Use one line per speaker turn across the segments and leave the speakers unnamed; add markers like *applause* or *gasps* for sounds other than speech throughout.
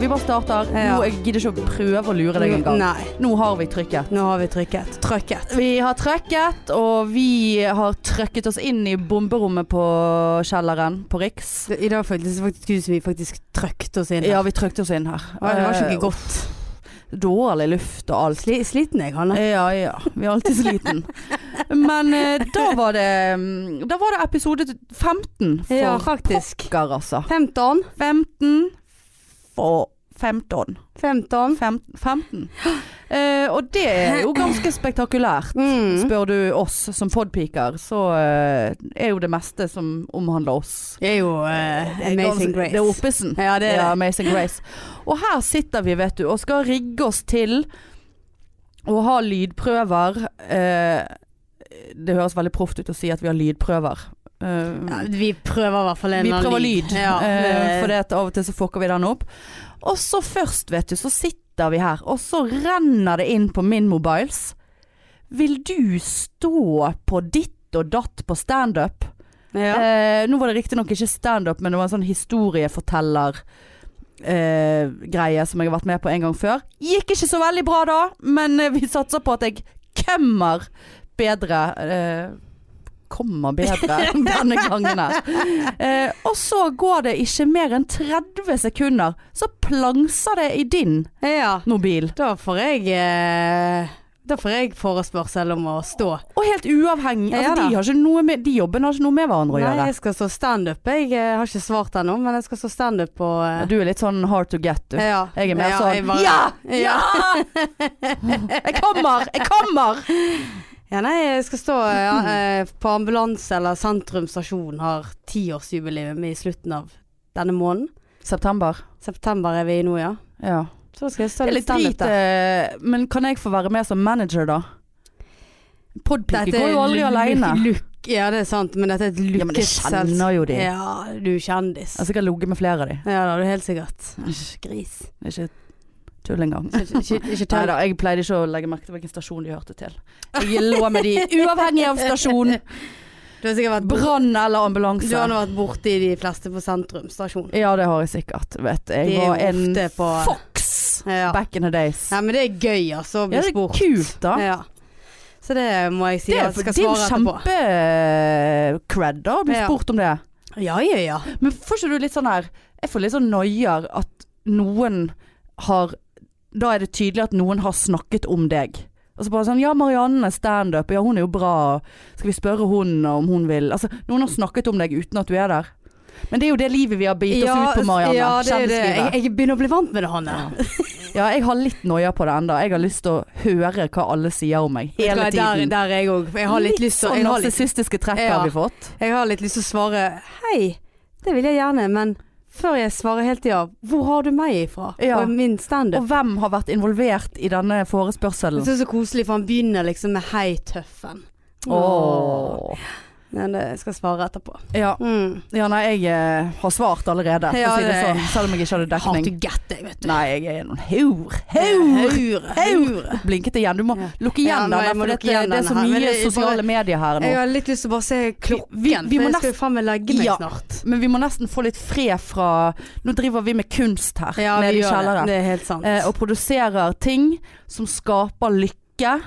Vi bare starter.
Ja.
Nå, jeg gidder ikke å prøve å lure deg engang.
Nei,
Nå har vi trykket.
nå har vi trykket. Trykket.
Vi har trøkket, og vi har trøkket oss inn i bomberommet på kjelleren på Riks.
I dag føltes det faktisk ut som vi faktisk trøkte oss inn.
Ja, vi trøkte oss inn her.
Ja, det var ikke
Eh,
noe godt.
Dårlig luft og alt.
Sli, sliten jeg, Hanne.
Ja, ja. Vi er alltid *laughs* sliten. Men eh, da var det mm, Da var det episode 15 for
Ja, faktisk.
pokker, altså.
15.
15 for 15.
15.
Fem, *gasps* 15. Eh, og det er *clears throat* jo ganske spektakulært.
Mm.
Spør du oss som podpiker, så eh, er jo det meste som omhandler oss.
Det er jo eh, *laughs* Amazing
Gans- Det er
Grace. *laughs*
oppesen.
Ja, det er
Ja,
det.
Amazing Grace. Og her sitter vi, vet du, og skal rigge oss til å ha lydprøver. Eh, det høres veldig proft ut å si at vi har lydprøver. Eh,
Ja, vi prøver i hvert fall en
vi
annen
prøver lyd,
Ja,
eh,
det-
for det at av og til så fucker vi den opp. Og så først, vet du, så sitter vi her, og så renner det inn på min mobiles. Vil du stå på ditt og datt på standup?
ja.
Eh, nå var det riktignok ikke standup, men det var en sånn historieforteller-greie som jeg har vært med på en gang før. Gikk ikke så veldig bra da, men eh, vi satser på at jeg kommer bedre. Eh, kommer bedre
*laughs*
denne gangen her. Eh, og så går det ikke mer enn 30 sekunder, så plangser det i din
ja.
mobil.
Da får jeg eh, Da får jeg forespørsel om å stå.
Og helt uavhengig.
Ja
Altså,
da.
de, har ikke noe med, de jobbene har ikke noe med hverandre å
Nei,
gjøre.
jeg skal stå standup. Jeg eh, har ikke svart ennå, men jeg skal stå standup på eh,
Du er litt sånn hard to get, du.
ja.
Jeg er mer
ja,
sånn
jeg bare-
Ja!
ja!
Ja! *laughs* Jeg kommer! Jeg kommer!
Ja, nei, jeg skal stå ja, eh, på ambulanse eller sentrum stasjon har tiårsjubileum i slutten av denne måneden.
September.
September er vi i nå, ja.
Ja.
Så skal jeg
Det
stå
er
litt
litt drit,
standup der.
eh, men kan jeg få være med som manager, da? Podpike
Dette er
går jo aldri
lu-
aleine.
*laughs* lukk- Ja, det er sant, men dette er et lukket
Ja, men jeg kjenner jo de. Altså. Jeg
Ja, du er kjendis.
har sikkert ligget med flere av de.
Ja, det er du helt sikkert. Æsj, gris.
Det er ikke tull engang.
Ikke, ikke,
*laughs*
ikke
Nei
tell.
da, jeg pleide ikke å legge merke til hvilken stasjon de hørte til. Jeg lå med de uavhengig av stasjon.
*laughs* Du har sikkert vært bra.
Brann eller
Du har
ambulanse.
nå vært borti de fleste på sentrum stasjon.
Ja, det har jeg sikkert. Vet. du.
De
Jeg
er
var
jo
en
ofte på
fox
ja.
back in the days.
ja, men det er gøy altså å
Ja,
bli
det er
spurt.
kult, da.
Ja. Så det må jeg si
Det,
at jeg skal
det er jo
svare etterpå.
kjempe-cred da, å bli
Ja.
spurt om det.
Ja, ja, ja.
Men får ikke du litt sånn her Jeg får litt sånn noier at noen har Da er det tydelig at noen har snakket om deg. Og så bare sånn Ja, Marianne, standup. Ja, hun er jo bra. Skal vi spørre hun om hun vil Altså, noen har snakket om deg uten at du er der. Men det er jo det livet vi har bitt oss
ja,
ut på, Marianne.
Ja, det er det. Jeg,
Kjendislivet.
jeg begynner å bli vant med det, Hanne.
Ja, jeg har litt noier på det enda. Jeg har lyst til å høre hva alle sier om meg.
Vet du
Hele
hva, Der,
tiden.
der er jeg òg. Jeg har litt, lyst til
Sånn
jeg har litt,
narsissistiske trekk
Ja.
har vi fått.
jeg har litt lyst til å svare hei, det vil jeg gjerne, men før jeg svarer helt ja, hvor har du meg ifra?
Ja.
Og min standup?
Og hvem har vært involvert i denne
Jeg
forespørselen?
synes det er så koselig, for han begynner liksom med hei, tøffen.
Åh.
Men det jeg skal svare etterpå.
Ja,
Mm.
ja, nei, jeg eh, har svart allerede, for
Ja,
å si det
det-
sånn. Selv om jeg ikke hadde
Hard to
dekning.
get, jeg, vet du.
Nei, jeg er noen haur. Haur!
Haure, haure.
Blinket igjen. Du må
Ja.
lukke
Ja,
igjen
nå, jeg
denne,
må
for
lukke
dette, det
igjen
er så
denne her, men
mye
det er bare-
sosiale medier her nå.
Jeg har litt lyst til å bare se klokken,
Vi- vi må
for
nesten-
jeg skal jo faen meg legge meg
Ja.
snart.
Men vi må nesten få litt fred fra Nå driver vi med kunst her
Ja, vi
nede i
gjør det.
kjelleren.
Det er helt sant.
eh, og produserer ting som skaper lykke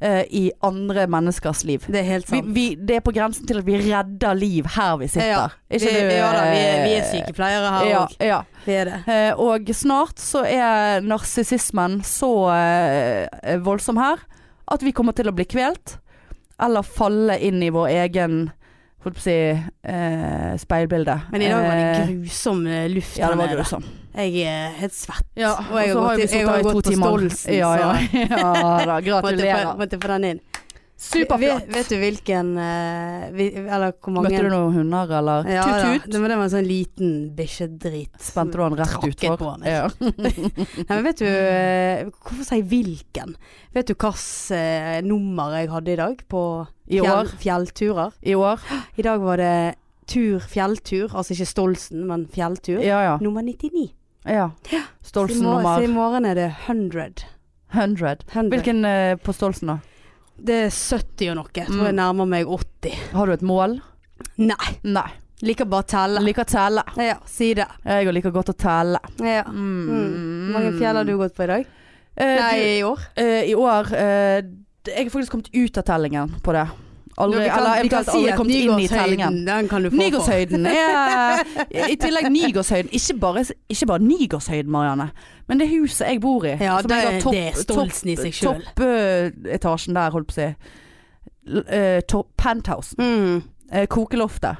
eh, i andre menneskers liv.
det er helt
Vi,
sant.
vi, det er på grensen til at vi redder liv her vi
Ja.
sitter. Ikke
Vi-
det,
ja da, vi er, vi er
eh,
sykepleiere her òg.
Ja, ja.
Vi er det.
Eh, Og snart så er narsissismen så eh, voldsom her at vi kommer til å bli kvelt. Eller falle inn i vår egen holdt på å si, eh, speilbilde.
Men i dag var det
Eh,
grusom eh, luft
Ja, det var
her nede.
grusomt.
Jeg er helt svett.
Ja,
og jeg har gått, i- jeg har gått på Stolsen,
*laughs* Ja, ja.
så
ja da,
*laughs* måtte få,
gratulerer.
måtte få den inn. Vet,
Superflott.
vet du hvilken eh, vi, Eller hvor mange
Møtte du noen hunder, eller?
Ja, da.
Tut-tut.
Det var- det var en sånn liten bikkjedrit.
Spente du han rett
Trakket
utfor?
på han,
Ja.
Nei, men vet du eh, Hvorfor sier jeg hvilken? Vet du hvilket eh, nummer jeg hadde i dag på
I år?
fjell, fjellturer?
I år?
I dag var det tur, fjelltur. Altså ikke Stolsen, men fjelltur.
Ja ja.
Nummer 99.
ja. Stolsen
Så i mor-
nummer
Så i morgen er det 100.
100.
100.
Hvilken eh, på Stolsen, da?
Det er 70 og noe. Jeg tror jeg
Mm.
nærmer meg 80.
Har du et mål?
Nei.
Nei.
Liker bare å telle.
Liker å telle.
Ja, si det.
Jeg liker godt å telle.
Ja. Mm. Hvor mange fjell har du gått på i dag?
Eh, du,
Nei, i år.
eh, I år eh, d- Jeg har faktisk kommet ut av tellingen på det. Aldri,
Vi kan-
eller
vi kan
eventuelt
si
aldri
at
kommet inn i tellingen.
Nygårdshøyden, Den kan du få for.
Nygårdshøyden
*laughs*
er I tillegg Nygårdshøyden. Ikke bare, ikke bare Nygårdshøyden, Marianne. Men det huset jeg bor i.
Ja,
som
det,
jeg har topp- eh,
det er stoltsen i seg sjøl.
Toppetasjen der, holdt på å si. L- eh, topp- Penthousen.
Mm.
Eh, kokeloftet.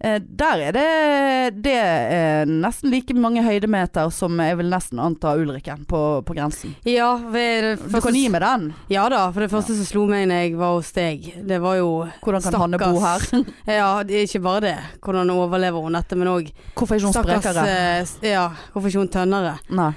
Eh, der er det Det er nesten like mange høydemeter som jeg vil nesten anta Ulrikken på, på grensen.
Ja, ved det
Du kan gi
første,
meg den.
ja da, for det første som slo meg når jeg var hos deg, det var jo
Hvordan kan Hanne bo her?
Stakkars. Ja, det er ikke bare det. Hvordan overlever hun dette, men òg
*laughs* Hvorfor er ikke hun sprekere?
eh, s- Ja, hvorfor ikke hun tønnere?
Nei.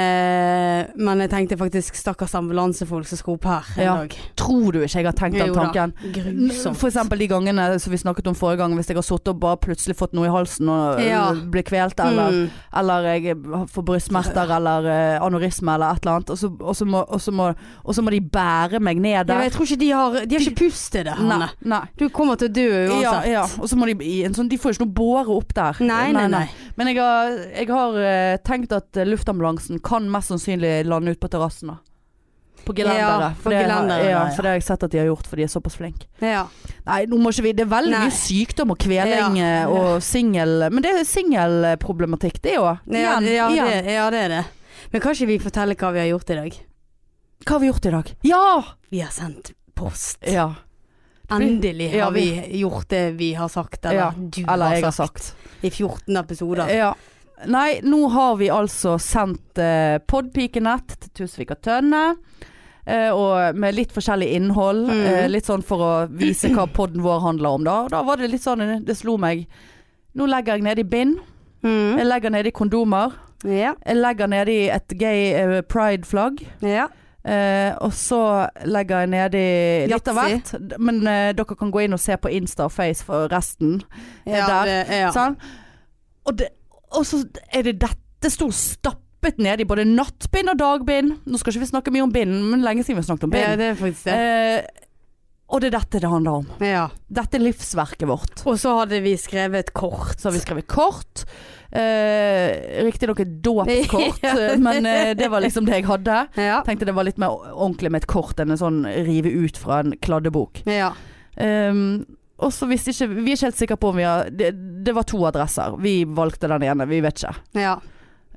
Eh, men jeg tenkte faktisk stakkars ambulansefolk som skal opp her en
Ja.
dag.
Tror du ikke jeg har tenkt den
Jo da.
tanken?
Grusomt.
For eksempel de gangene som vi snakket om forrige gang, hvis jeg har sittet og bare plutselig fått noe i halsen og øh,
Ja.
blir kvelt, eller,
Mm.
eller jeg får brystsmerter eller øh, anorisme eller et eller annet, og så, og, så må, og, så må, og så må de bære meg ned
Ja,
der.
jeg tror ikke de har De har ikke pust til det,
nei,
Hanne.
nei.
Du kommer til å dø
Ja,
uansett.
ja. Og så må de i en sånn De får jo ikke noe båre opp der.
Nei, nei, nei.
Men jeg har, jeg har øh, tenkt at øh, luftambulansen kan mest sannsynlig lande ut på terrassen. da. På gelenderet.
Ja,
for
på
det har-
gelenderet,
ja,
ja.
for det har jeg sett at de har gjort, for de er såpass flinke.
Ja.
Nei, nå må ikke vi Det er veldig
Nei.
mye sykdom og kveling
Ja.
eh, og singel Men det er singelproblematikk, det òg.
Ja,
Igjen.
ja,
igjen.
det, ja, det er det. Men kan ikke vi fortelle hva vi har gjort i dag?
Hva har vi gjort i dag? Ja!
Vi har sendt post.
ja.
Endelig
Ja,
har vi gjort det vi har sagt, eller
Ja,
du
Eller jeg
har
har
sagt.
sagt. Eh,
I 14 episoder.
Ja. Nei, nå har vi altså sendt eh, Podpikenett til Tusvik og Tønne. eh, og med litt forskjellig innhold.
Mhm.
eh, litt sånn for å vise hva podden vår handler om, da. Og Da var det litt sånn Det slo meg. Nå legger jeg ned i bind.
Mm.
Jeg legger ned i kondomer.
Ja.
Jeg legger ned i et gay eh, pride-flagg.
ja.
Eh, og så legger jeg nedi litt av hvert.
Yatzy.
D- Men eh, dere kan gå inn og se på Insta og Face for resten.
ja,
der.
det- ja.
Sånn? Og, det, og så er det dette sto stappet ned i både nattbind og dagbind. Nå skal ikke vi snakke mye om bind, men lenge siden vi har snakket om
ja,
bind.
det er faktisk det.
eh, og det er dette det handler om.
Ja.
Dette er livsverket vårt.
Og så hadde vi skrevet kort.
Så har vi skrevet kort. Eh, Riktignok et
*laughs*
dåpskort, eh, men eh, det var liksom det jeg hadde.
Ja.
Tenkte det var litt mer ordentlig med et kort enn en sånn rive ut fra en kladdebok.
ja.
Um, og så visste ikke Vi er ikke helt sikre på om vi har det, det var to adresser. Vi valgte den ene, vi vet ikke.
ja.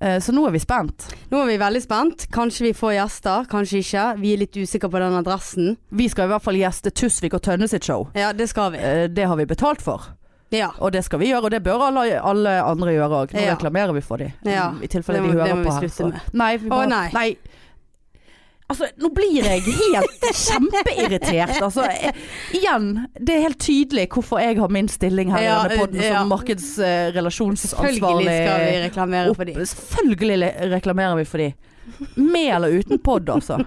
Eh, så nå er vi spent.
Nå er vi veldig spent. Kanskje vi får gjester, kanskje ikke. Vi er litt usikre på den adressen.
Vi skal i hvert fall gjeste Tusvik og Tønne sitt show.
Ja, det skal vi.
Eh, det har vi betalt for,
Ja.
og det skal vi gjøre. Og det bør alle, alle andre gjøre òg. Nå
Ja.
reklamerer vi for dem.
Ja.
I tilfelle
Det må-
de
det
hører
må
på
vi
her.
slutte med.
Nei, vi
Å,
må-
nei.
nei. Altså, nå blir jeg
*laughs*
helt kjempeirritert. Altså, jeg, igjen, det er helt tydelig hvorfor jeg har min stilling her
Ja,
i denne podden
ja.
som markedsrelasjonsansvarlig.
Følgelig skal vi reklamere for
Opp-
dem.
Selvfølgelig le- reklamerer vi for de. Med eller uten pod, altså.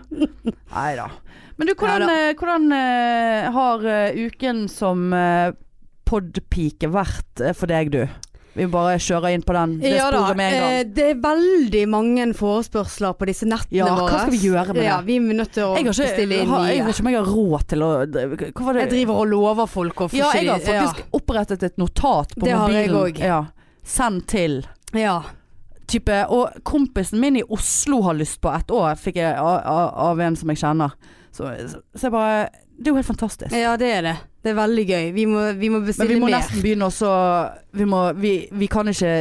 Nei da. Men du, hvordan,
Neida.
eh, hvordan eh, har eh, uken som eh, podpike vært eh, for deg, du? Vi bare kjører inn på den. Det
Ja da,
sporet med en
eh,
gang.
det er veldig mange forespørsler på disse nettene
Ja, hva
våre.
skal vi gjøre med
Ja,
det?
vi er nødt til å
Jeg, har
bestille
ikke,
inn
har, jeg
nye.
vet ikke om jeg har råd til å Hva var det?
Jeg driver og lover folk å få
ja,
ikke
jeg har
de-
faktisk opprettet et notat på
Det har jeg
mobilen.
også.
Ja. Send til.
ja. ja.
type, og kompisen min i Oslo har lyst på ett år, fikk jeg av, av, av en som jeg kjenner. Så, så jeg bare Det er jo helt fantastisk.
Ja, det er det. Det er veldig gøy. Vi må, vi må
Men
bestille
vi må
mer.
nesten begynne også vi, må, vi, vi kan ikke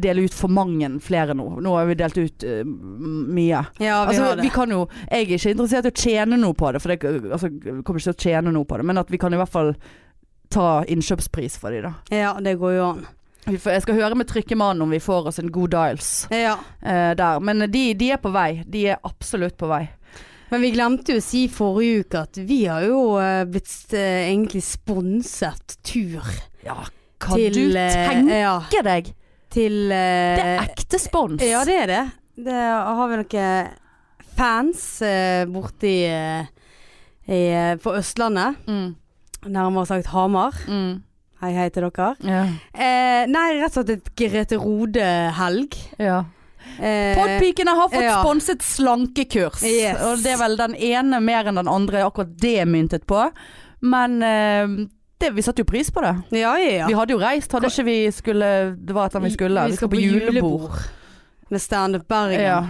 dele ut for mange flere nå. Nå har vi delt ut eh, mye.
Ja, vi
altså,
har det.
vi kan jo Jeg er ikke interessert i å tjene noe på det, for det altså, jeg kommer ikke til å tjene noe på det, men at vi kan i hvert fall ta innkjøpspris for de da.
Ja, det går jo an.
Vi får- Jeg skal høre med trykkemannen om vi får oss en god dials
Ja.
eh, der. Men de, de er på vei. De er absolutt på vei.
Men vi glemte jo å si forrige uke at vi har jo eh, blitt eh, egentlig sponset tur
Ja, kan
til
du
eh,
tenke
Ja,
deg?
til eh,
Det er ekte spons.
Ja, det er det. Det har vi noen eh, fans eh, borti eh, i, eh, på Østlandet.
Mm,
Nærmere sagt Hamar.
mm,
Hei, hei til dere.
ja.
Eh, nei, rett og slett et Grete Rode-helg.
ja.
Eh,
Podpikene har fått
ja.
sponset slankekurs.
Yes.
Og det er vel den ene mer enn den andre akkurat det er myntet på. Men eh, det, vi satte jo pris på det.
Ja, ja,
Vi
ja.
hadde jo reist, hadde ikke vi skulle Det var et eller annet vi skulle. Vi skal på julebord.
Med Standup Bergen.
Ja.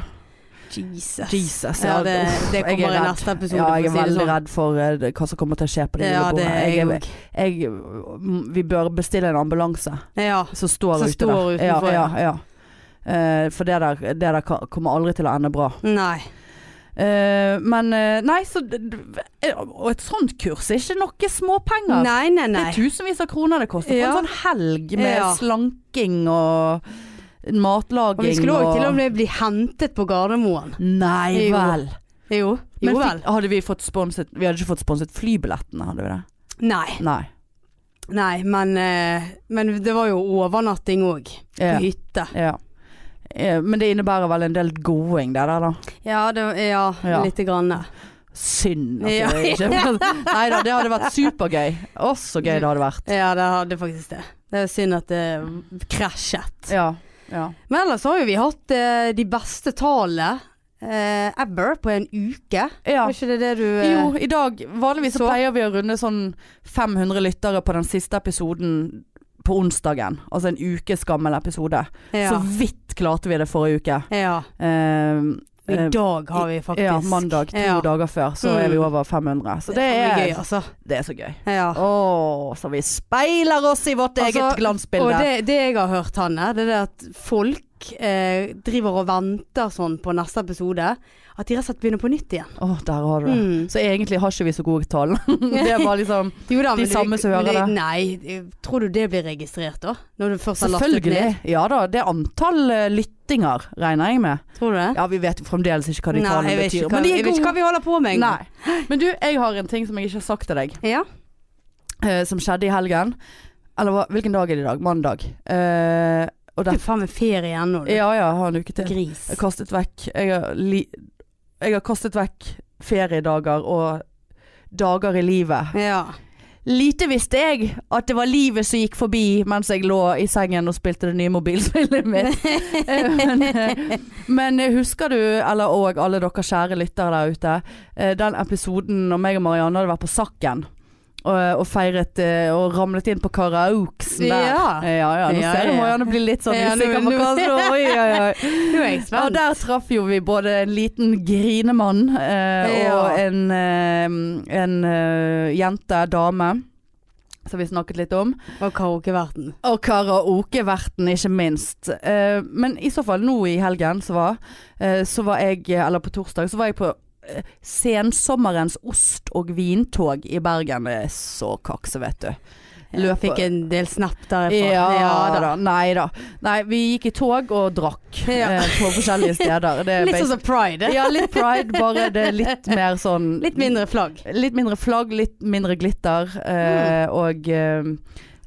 Jesus.
Jesus.
Ja, det, det
Jeg er
kommer i
redd.
neste episode.
Ja, jeg
for
er
å si det
veldig
sånn.
redd for eh, det- hva som kommer til å skje på det
Ja, det
julebordet.
er jeg
Jeg,
òg.
jeg, m- vi bør bestille en ambulanse
Ja.
som står
Som
ute
står
der. Ja, ja,
utenfor, ja.
ja. Eh, for det der, det der ka- kommer aldri til å ende bra.
Nei.
Eh, men eh, nei, så d- d- eh, Og et sånt kurs er ikke noe småpenger.
Nei, nei,
Det
nei.
er tusenvis av kroner det koster for
Ja.
en sånn helg med
Ja.
slanking og matlaging
Og vi skulle òg til og med bli hentet på Gardermoen.
Nei
Jo.
vel.
Jo,
Men
jo
fikk-
vel.
hadde vi fått sponset Vi hadde ikke fått sponset flybillettene, hadde vi det?
Nei.
Nei.
Nei, men, eh, men det var jo overnatting òg. På
Ja.
hytte.
Ja. Eh, Men det innebærer vel en del going det der, da.
Ja, det, ja,
Ja.
lite grann.
Synd at
Ja.
det
*laughs*
ikke Nei da, det hadde vært supergøy. Å, så gøy det hadde vært.
Ja, det hadde faktisk det. Det er synd at det krasjet.
Ja. ja.
Men ellers har jo vi hatt eh, de beste tallene eh, ever på en uke.
ja.
Var ikke det det du eh,
Jo, i dag Vanligvis så
så-
pleier vi å runde sånn 500 lyttere på den siste episoden på onsdagen. Altså en ukes gammel episode.
Ja.
Så vidt klarte vi det forrige uke.
ja.
Eh,
Og
eh,
I dag har vi faktisk
Ja, mandag to
Ja.
dager før, så
Mm.
er vi over 500. Så det
Det er gøy,
er,
altså.
det er så gøy.
Ja.
Å, så vi speiler oss i vårt
Altså,
eget glansbilde.
Og det, det jeg har hørt, Hanne, det er det at folk eh, driver og venter sånn på neste episode. At de rett og slett begynner på nytt igjen.
Å, der har du det.
Mm.
Så egentlig har ikke vi så gode tall. *laughs* det er bare liksom
Jo da,
De
men du-
samme som hører
men Nei, tror du det blir registrert da? Når du først har lastet ned?
Selvfølgelig. Ja da, det er antall eh, lyttinger, regner jeg med.
Tror du det?
Ja, vi vet jo fremdeles ikke hva de
Nei, jeg
tallene
vet
betyr.
ikke hva,
men de
jeg
er
vet
gode.
ikke hva vi holder på med engang.
Nei. Men du, jeg har en ting som jeg ikke har sagt til deg,
Ja.
eh, som skjedde i helgen. Eller hva, hvilken dag er det i dag? Mandag. Eh, og
Du
det,
er faen meg ferie ennå, du.
ja ja, jeg har en uke til.
Gris.
Jeg har kastet vekk jeg har, li, jeg har kastet vekk feriedager og dager i livet.
Ja.
Lite visste jeg at det var livet som gikk forbi mens jeg lå i sengen og spilte det nye mobilspillet
*laughs*
mitt. Eh, men, eh, men husker du, eller og alle dere kjære lyttere der ute, eh, den episoden når meg og Marianne hadde vært på Sakken og, og feiret eh, og ramlet inn på karaokesen der?
Ja.
Eh, ja, ja. Nå
Ja,
ser du
ja.
Marianne bli litt sånn
Ja, nå-
usikker på hva
nå-
som Oi, oi, oi.
Nå er jeg
Ja,
spent.
der traff jo vi både en liten grinemann eh,
Ja.
og en, eh, en eh, jente, dame, som vi snakket litt om.
Og karaokeverten.
Og karaokeverten, ikke minst. Eh, men i så fall, nå i helgen så var, eh, så var jeg, eller på torsdag, så var jeg på eh, Sensommerens ost- og vintog i Bergen. Det er så kakse, vet du.
Jeg
Løper-
fikk en del snap derifra.
Ja, da. Nei da. Nei, vi gikk i tog og drakk
Ja.
eh, på forskjellige steder. Det er
Litt sånn som pride.
ja, litt pride, bare det er litt mer sånn
*laughs* Litt mindre flagg.
litt mindre flagg, litt mindre glitter.
Mm.
eh, Og eh,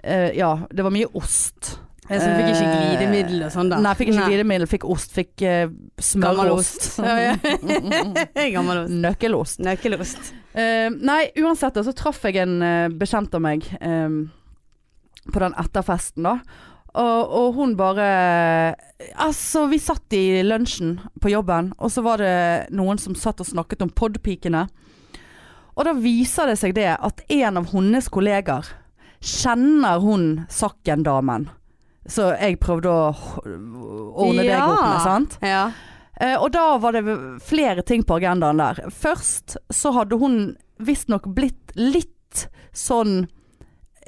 eh, ja, det var mye ost. Eh,
Jeg så fikk ikke glidemiddel og sånn da.
Nei, fikk ikke glidemiddel. Fikk ost. Fikk eh, smørost.
Gammelost. Ja, *laughs* ja. Gammelost.
Nøkkelost.
Nøkkelost.
Eh, nei, uansett da, så traff jeg en eh, bekjent av meg eh, på den etterfesten da. Og, og hun bare Altså, vi satt i lunsjen på jobben, og så var det noen som satt og snakket om podpikene. Og da viser det seg det at en av hennes kolleger kjenner hun Sakken-damen. Så jeg prøvde å h- ordne deg
Ja.
opp med, sant?
Ja.
Eh, og da var det v- flere ting på agendaen der. Først så hadde hun visstnok blitt litt sånn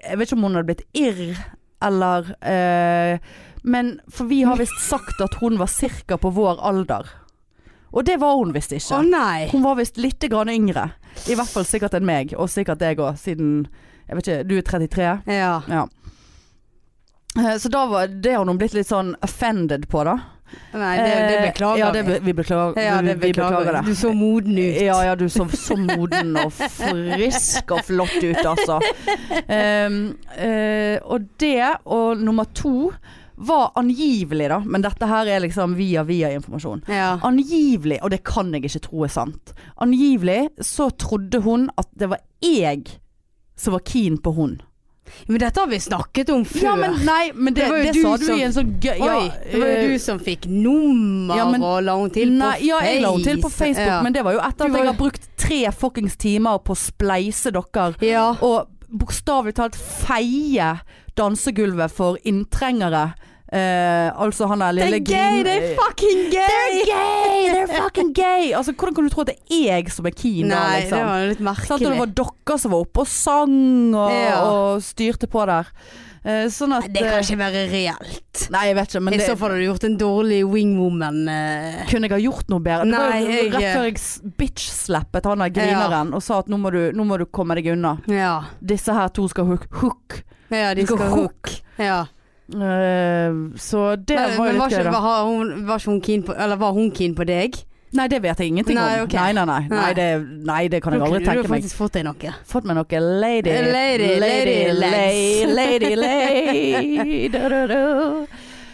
Jeg vet ikke om hun hadde blitt irr eller eh, Men for vi har visst sagt at hun var ca. på vår alder. Og det var hun visst
Å
ikke.
nei.
Hun var visst litt grann yngre. I hvert fall sikkert enn meg, og sikkert deg òg, siden jeg vet ikke, du er 33.
Ja.
Ja. Eh, Så da var det har hun blitt litt sånn offended på, da. Eh,
Nei, det, det beklager
Ja, det, be- vi beklager,
vi. Ja, det
vi, vi beklager det.
Du så moden ut.
Ja, ja, du så så moden og frisk og flott ut, altså. Ehm, eh, og det, og nummer to, var angivelig, da. Men dette her er liksom via via informasjon.
Ja.
Angivelig, og det kan jeg ikke tro er sant. Angivelig så trodde hun at det var jeg som var keen på hun.
Men dette har vi snakket om før.
Ja, men nei, men det,
Det var jo
det,
du
sa du
som-
i en sånn gøy ja,
Oi, det var
eh,
jo du som fikk nummer
ja, men-
og la henne til på
Nei,
Face.
ja, jeg la henne til på Facebook,
ja.
men det var jo etter
Du
at
var
jeg
jo-
har brukt tre fuckings timer på å spleise dere
ja.
og bokstavelig talt feie dansegulvet for inntrengere. Eh, altså han der lille grin-
fucking
They're gay! They're fucking gay! Altså, hvordan kan du tro at det er jeg som er keen da,
Nei,
liksom?
det var litt
Sant, og det
merkelig.
var dere som var oppe og sang og,
Ja.
og styrte på der. Eh, sånn at
Det kan
eh,
ikke være reelt.
Nei, jeg vet ikke, men
I
det
så fall har du gjort en dårlig wingwoman. eh.
kunne jeg ha gjort noe bedre. det var
Nei,
jo
jeg-
rett før jeg s- bitch-slappet han der grineren og sa at nå må, du, nå må du komme deg unna.
Ja.
Disse her to skal hook. hook.
ja, de
Skal
skal
hook.
hook. Ja.
Eh, så det
Men,
var
men
jo
var,
litt gøy,
ikke,
da.
var, har hun, var ikke hun keen på Eller var hun keen på deg?
Nei, det vet jeg ingenting
Nei,
om.
ok.
Nei, nei, nei. Nei,
Nei.
det, nei, det kan jeg aldri
Da kunne
tenke
du
meg.
faktisk fått deg noe.
Fått meg noe lady
Lady, lady
lady,
legs.
lady, lady.
*laughs*
Da, da, da.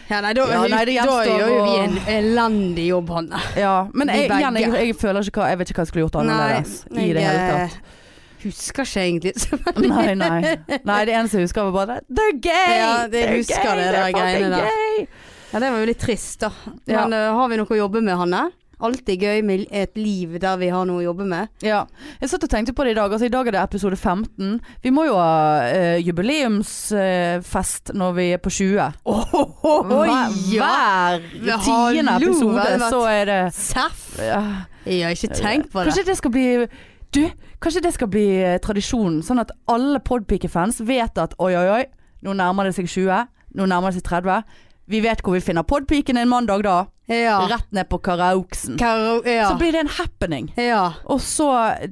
Ja, nei, da,
Ja, nei, det
da
gjenstår
gjør jo
å-
vi en elendig jobb, Hanne.
Ja, men
De
jeg, igjen, jeg,
begge.
jeg føler ikke hva Jeg vet ikke hva jeg skulle gjort annerledes i det hele tatt.
Husker ikke egentlig.
Nei, nei. nei, det eneste jeg husker var bare They're gay!
Ja, det- jeg
They're
husker
gay!
det der
They're fucking
greiene der.
gay!
Ja, det var jo litt trist, da.
Ja.
Men eh, har vi noe å jobbe med, Hanne? Alltid gøy med et liv der vi har noe å jobbe
*laughs*
med.
Ja. Jeg satt og tenkte på det i dag. Altså, I dag er det episode 15. Vi må jo ha eh, jubileumsfest når vi er på 20. Hver- Hver
Ja,
tiende
hallo,
episode
det har vært-
så er det
Seff!
ja.
Ja, ikke tenk på det.
Kanskje det skal bli Du, kanskje det skal bli eh, tradisjonen. Sånn at alle Podpike-fans vet at oi, oi, oi, nå nærmer det seg 20. Nå nærmer det seg 30. Vi vet hvor vi finner Podpiken en mandag, da.
Ja.
Rett ned på karaokesen.
Karo... Ja.
Så blir det en happening.
Ja.
Og så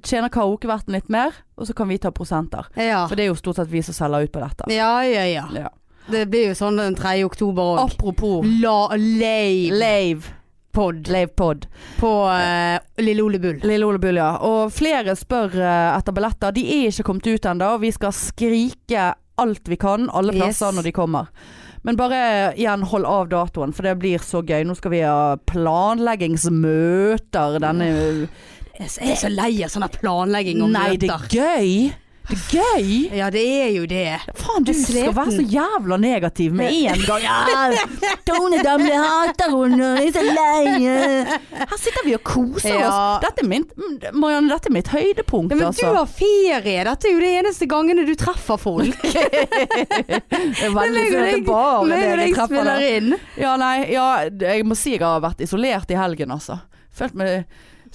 tjener karaokeverten litt mer, og så kan vi ta prosenter.
Ja.
For det er jo stort sett vi som selger ut på dette.
Ja, ja, ja.
Ja.
Det blir jo sånn den 3. oktober òg.
Apropos
La lei
Lave
pod
Lave Pod.
på eh, Lille Ole Bull.
Lille Ole Bull, ja. Og flere spør eh, etter billetter. De er ikke kommet ut ennå. Vi skal skrike alt vi kan, alle
Yes.
plasser når de kommer. Men bare eh, igjen, hold av datoen, for det blir så gøy. Nå skal vi ha planleggingsmøter denne
Jeg er så lei av sånn planlegging og
Nei, det er
møter.
gøy! Det er gøy!
Ja, det er jo det.
Faen, du
Jeg er
skal
sliten.
være så jævla negativ med en gang.
*laughs*
Ja, Tone Damli hater henne, jeg er så lei. Her sitter vi og koser
Ja.
oss. Dette er min, Marianne, dette er mitt høydepunkt,
Ja, men
altså.
du har ferie. Dette er jo de eneste gangene du treffer folk.
Det er
meg
veldig
og
sånn at det
deg-
bare
meg og
er det
deg
jeg treffer
spiller
der.
inn.
Ja, nei, ja, jeg må si jeg har vært isolert i helgen, altså. Følt meg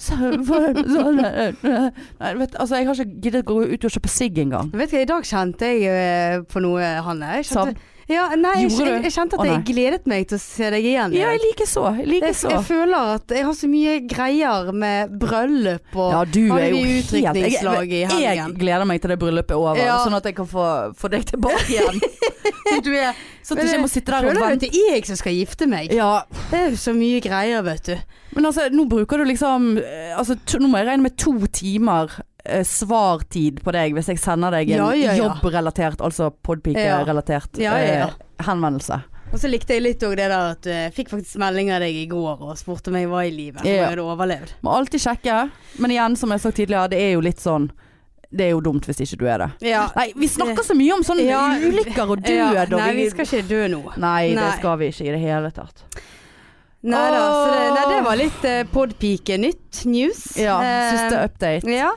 *laughs* så, for, så, nei, vet, altså, jeg har ikke giddet å gå ut og kjøpe sigg engang.
Vet du hva, i dag kjente jeg eh, på noe, Hanne. Jeg
Savn?
kjente, ja, nei, jeg,
Gjorde du?
jeg, jeg kjente
Å,
at jeg
nei.
gledet meg til å se deg igjen.
Ja, jeg
jeg,
liker så. Jeg liker
jeg,
så.
føler at jeg har så mye greier med bryllup og
Ja, du
Hadde
er jo
vi
helt
utdrikningslag i
jeg, jeg
helgen?
gleder meg til det bryllupet er over,
Ja.
sånn at jeg kan få, få deg tilbake *laughs* igjen. Så du er, sånn at jeg ikke må sitte der og
Føler du
vente.
at det er jeg som skal gifte meg?
Ja,
Det er jo så mye greier, vet du.
men altså, nå bruker du liksom eh, altså, to, Nå må jeg regne med to timer eh, svartid på deg hvis jeg sender deg en
Ja, ja, ja.
jobbrelatert, altså podpike-relatert
Ja. Ja, ja, ja.
eh, henvendelse.
Og så likte jeg litt òg det der at eh, jeg fikk faktisk melding av deg i går og spurte om jeg var i live. Om
Ja.
jeg hadde overlevd.
Må alltid sjekke, men igjen, som jeg sa tidligere, det er jo litt sånn Det er jo dumt hvis ikke du er det.
Ja. *laughs*
Nei, vi snakker så mye om sånne
Ja.
ulykker og død
Ja,
og
Nei, vi skal ikke dø nå.
nei, det
Nei.
skal vi ikke i det hele tatt.
Nei da, så det, nei, det
Åh.
var litt eh, podpike-nytt news.
Ja,
Eh,
siste update.
Ja,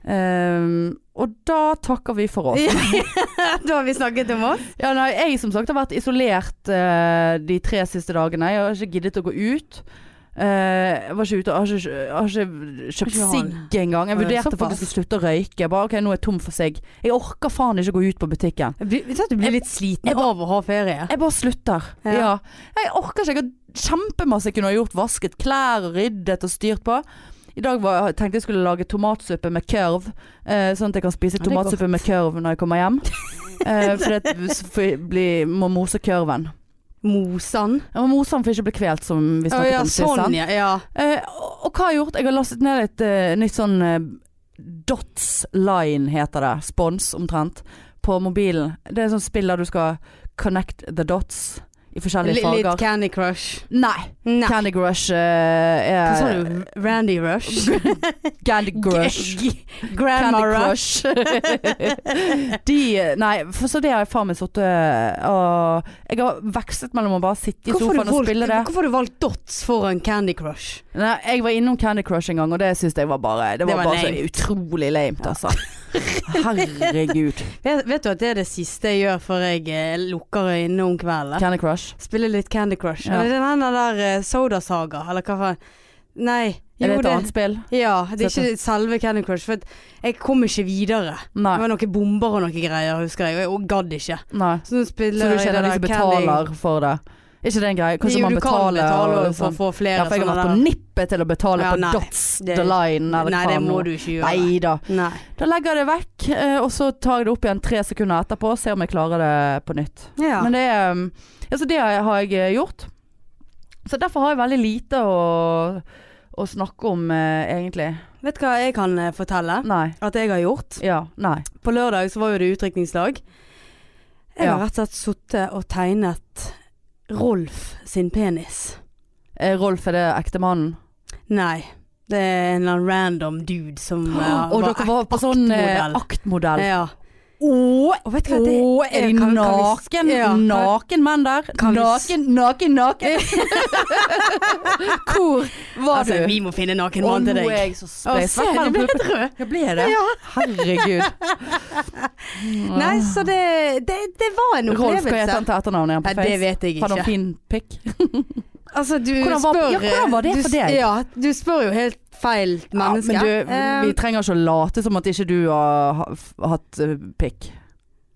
Eh.
Ehm, og da takker vi for oss.
*laughs* da har vi snakket om oss.
Ja, nei, jeg som sagt har vært isolert eh, de tre siste dagene. Jeg har ikke giddet å gå ut. Eh, jeg var ikke ute, jeg har ikke, jeg har ikke kjøpt
Ikke han.
sigg engang. Jeg
Å, det er
vurderte
såpass.
faktisk å slutte å røyke. Bare OK, nå er jeg tom for sigg. Jeg orker faen ikke gå ut på butikken.
Jeg blir- Vet du at du blir litt sliten av å ha ferie?
Jeg bare slutter.
Ja.
Ja. Jeg orker ikke. Jeg har kjempemasse jeg kunne ha gjort. Vasket klær og ryddet og styrt på. I dag var, jeg tenkte jeg skulle lage tomatsuppe med kørv, eh, sånn at jeg kan spise
Ja, det er
tomatsuppe med kørv når jeg kommer hjem.
*laughs*
Eh, for det for jeg blir- må mose kørven.
Mosan.
Jeg må mose den for ikke å bli kvelt, som vi
Å
snakket
ja,
om sist. sant?
sånn ja. ja.
Eh, og, og hva har jeg gjort? Jeg har lastet ned et eh, nytt sånn eh, Dots Line heter det. Spons omtrent. På mobilen. Det er et sånt spill der du skal connect the dots i
Litt,
forskjellige
litt
farger.
Candy Crush.
Nei.
Nei.
Candy Crush eh,
Hva sa
er
du? Randy Rush?
Candy Crush.
G- Grandma
Candy Crush.
Rush.
*laughs*
*laughs*
De eh, Nei, for så det har jeg faen meg sittet eh, og Jeg har vekslet mellom å bare sitte i
Hvorfor har,
sofaen
du
og
valgt,
spille det.
hvorfor har du valgt dots foran Candy Crush?
Nei, jeg var innom Candy Crush en gang, og det syns jeg var bare Det var,
Det var
bare så
lame. *laughs*
utrolig lame, altså. Herregud.
Vet, vet du at det er det siste jeg gjør før jeg eh, lukker øynene om kvelden?
Candy Crush.
Spille litt Candy Crush.
Ja.
Eller den der, der eh, Soda Saga, eller hva faen. Nei.
Er det
Jo,
et
det,
annet spill?
ja, det er ikke selve Candy Crush. For at jeg kom ikke videre.
Nei.
Det var noen bomber og noen greier, husker jeg. og jeg- Og gadd ikke.
Nei.
Så nå spiller
Så du
jeg det
kjenner de
der
som
Candy-
betaler for det? Er ikke det en greie? Kanskje
Jo,
man
du kan
betaler
betale
og
for å
sånn.
få flere
Ja, for jeg har vært på
der.
nippet til å betale
Ja,
på
nei.
Dots
Det-
The Line eller
Nei,
hva
det må
nå.
du ikke gjøre.
Nei da.
Nei.
Da legger jeg det vekk, eh, og så tar jeg det opp igjen tre sekunder etterpå og ser om jeg klarer det på nytt.
Ja.
Men det, um, altså det har jeg eh, gjort. Så derfor har jeg veldig lite å, å snakke om, eh, egentlig.
Vet du hva jeg kan eh, fortelle?
Nei.
At jeg har gjort.
Mm. Ja. Nei.
På lørdag så var jo det utdrikningslag. Jeg
Ja.
har rett og slett sittet og tegnet Rolf sin penis.
Eh, Rolf, er det ektemannen?
Nei, det er en eller annen random dude
*gasps*
som eh,
og dere var på sånn eh,
aktmodell.
aktmodell.
Ja.
Åh,
Og vet du hva det
Åh, er de
kan- kan vi-
naken,
ja, kan-
naken menn der?
Kan vi s-
Naken, naken, *laughs* naken! Hvor var
altså,
du?
Vi må finne en naken
Å,
mann til
nå
deg.
er jeg så
Å, se,
Hvert
du
mellom
ble
puppene.
helt rød.
Jeg ble det? Herregud.
*laughs* Nei, så det, det, det var en
Rolf, hva het
opplevelse.
han til etternavn igjen
Nei,
på
det
Face?
vet jeg
Har han
ikke.
fin pikk?
Altså, du
Hvordan var-
spør,
ja, hvordan var det
du,
for
s-
deg?
Ja, du spør jo helt feil menneske.
Ja, men du,
Eh,
vi trenger ikke å late som at ikke du har ha- f- hatt eh, pikk.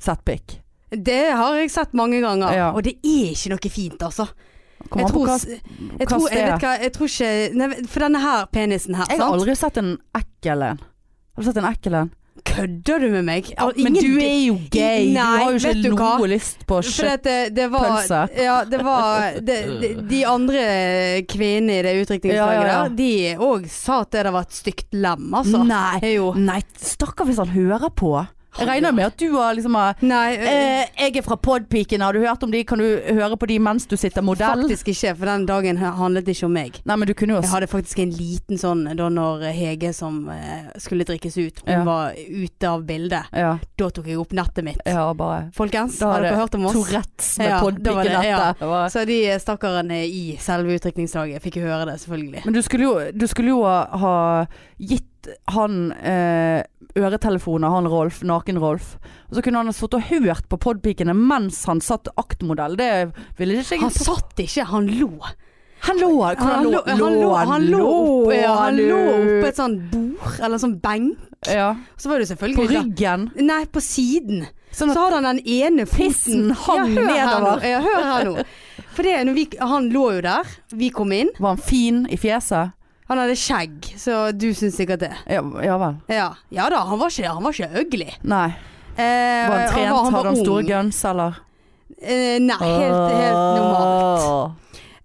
Sett pikk.
det har jeg sett mange ganger,
Ja.
og det er ikke noe fint, altså.
Kommer
jeg
an på
tror,
hva-
s- jeg,
hva
tror,
sted?
jeg, vet hva, jeg tror ikke nei, For denne her penisen her,
Jeg har
sant?
aldri sett en ekkel en. Har du sett en ekkel en?
Kødder du med meg?
Ja,
Al-
men
ingen-
du er jo gay.
Nei,
du har jo
vet
ikke
du
noe
hva?
lyst på
For
shit.
at det, det var
Pølse.
Ja, det var det, de, de andre kvinnene i det
Ja,
utdrikningslaget
ja, ja.
der, de òg sa at det der var et stygt lem, altså.
Nei,
Jo.
nei, stakkar hvis han hører på. Jeg regner med at du har liksom eh,
Nei, eh,
eh, Jeg er fra Podpiken, har du hørt om de? Kan du høre på de mens du sitter modell? Altså-
faktisk ikke, for den dagen handlet det ikke om meg.
Nei, men du kunne jo
Jeg hadde faktisk en liten sånn da når Hege som eh, skulle drikkes ut, hun
Ja.
var ute av bildet.
Ja,
Da tok jeg opp nettet mitt.
ja bare
Folkens,
Da
har
er det
dere hørt om oss?
Tourettes med
Ja, det var det,
Podpiken
ja.
dette. Ja.
Så de stakkarene i selve utdrikningslaget fikk jo høre det, selvfølgelig.
Men du skulle jo, du skulle jo ha gitt han eh, øretelefoner, han Rolf, naken-Rolf. Og så kunne han ha sittet og hørt på podpikene mens han satt aktmodell. Det ville ikke jeg
Han satt ikke, han lå.
Han lå hvor
Han lå, han lå, han lå, opp, ja, han lå oppe et sånt bord, eller sånn benk.
ja,
Så var det jo
På
selvfølgelig
ryggen.
da- Nei, på siden.
Sånn
Så
at
hadde han den ene foten
Pissen hang
hør her
nedover.
nå, Ja, hør her
*laughs*
nå. For det, når vi, han lå jo der, vi kom inn.
Var han fin i fjeset?
Han hadde skjegg, så du syns sikkert det.
Ja, ja vel.
Ja, ja da, han var ikke, han var ikke ugly.
Nei.
Eh,
Var han trent? Hadde han store Ah.
ung.
guns, eller?
Eh, nei, helt, helt normalt.
normalt.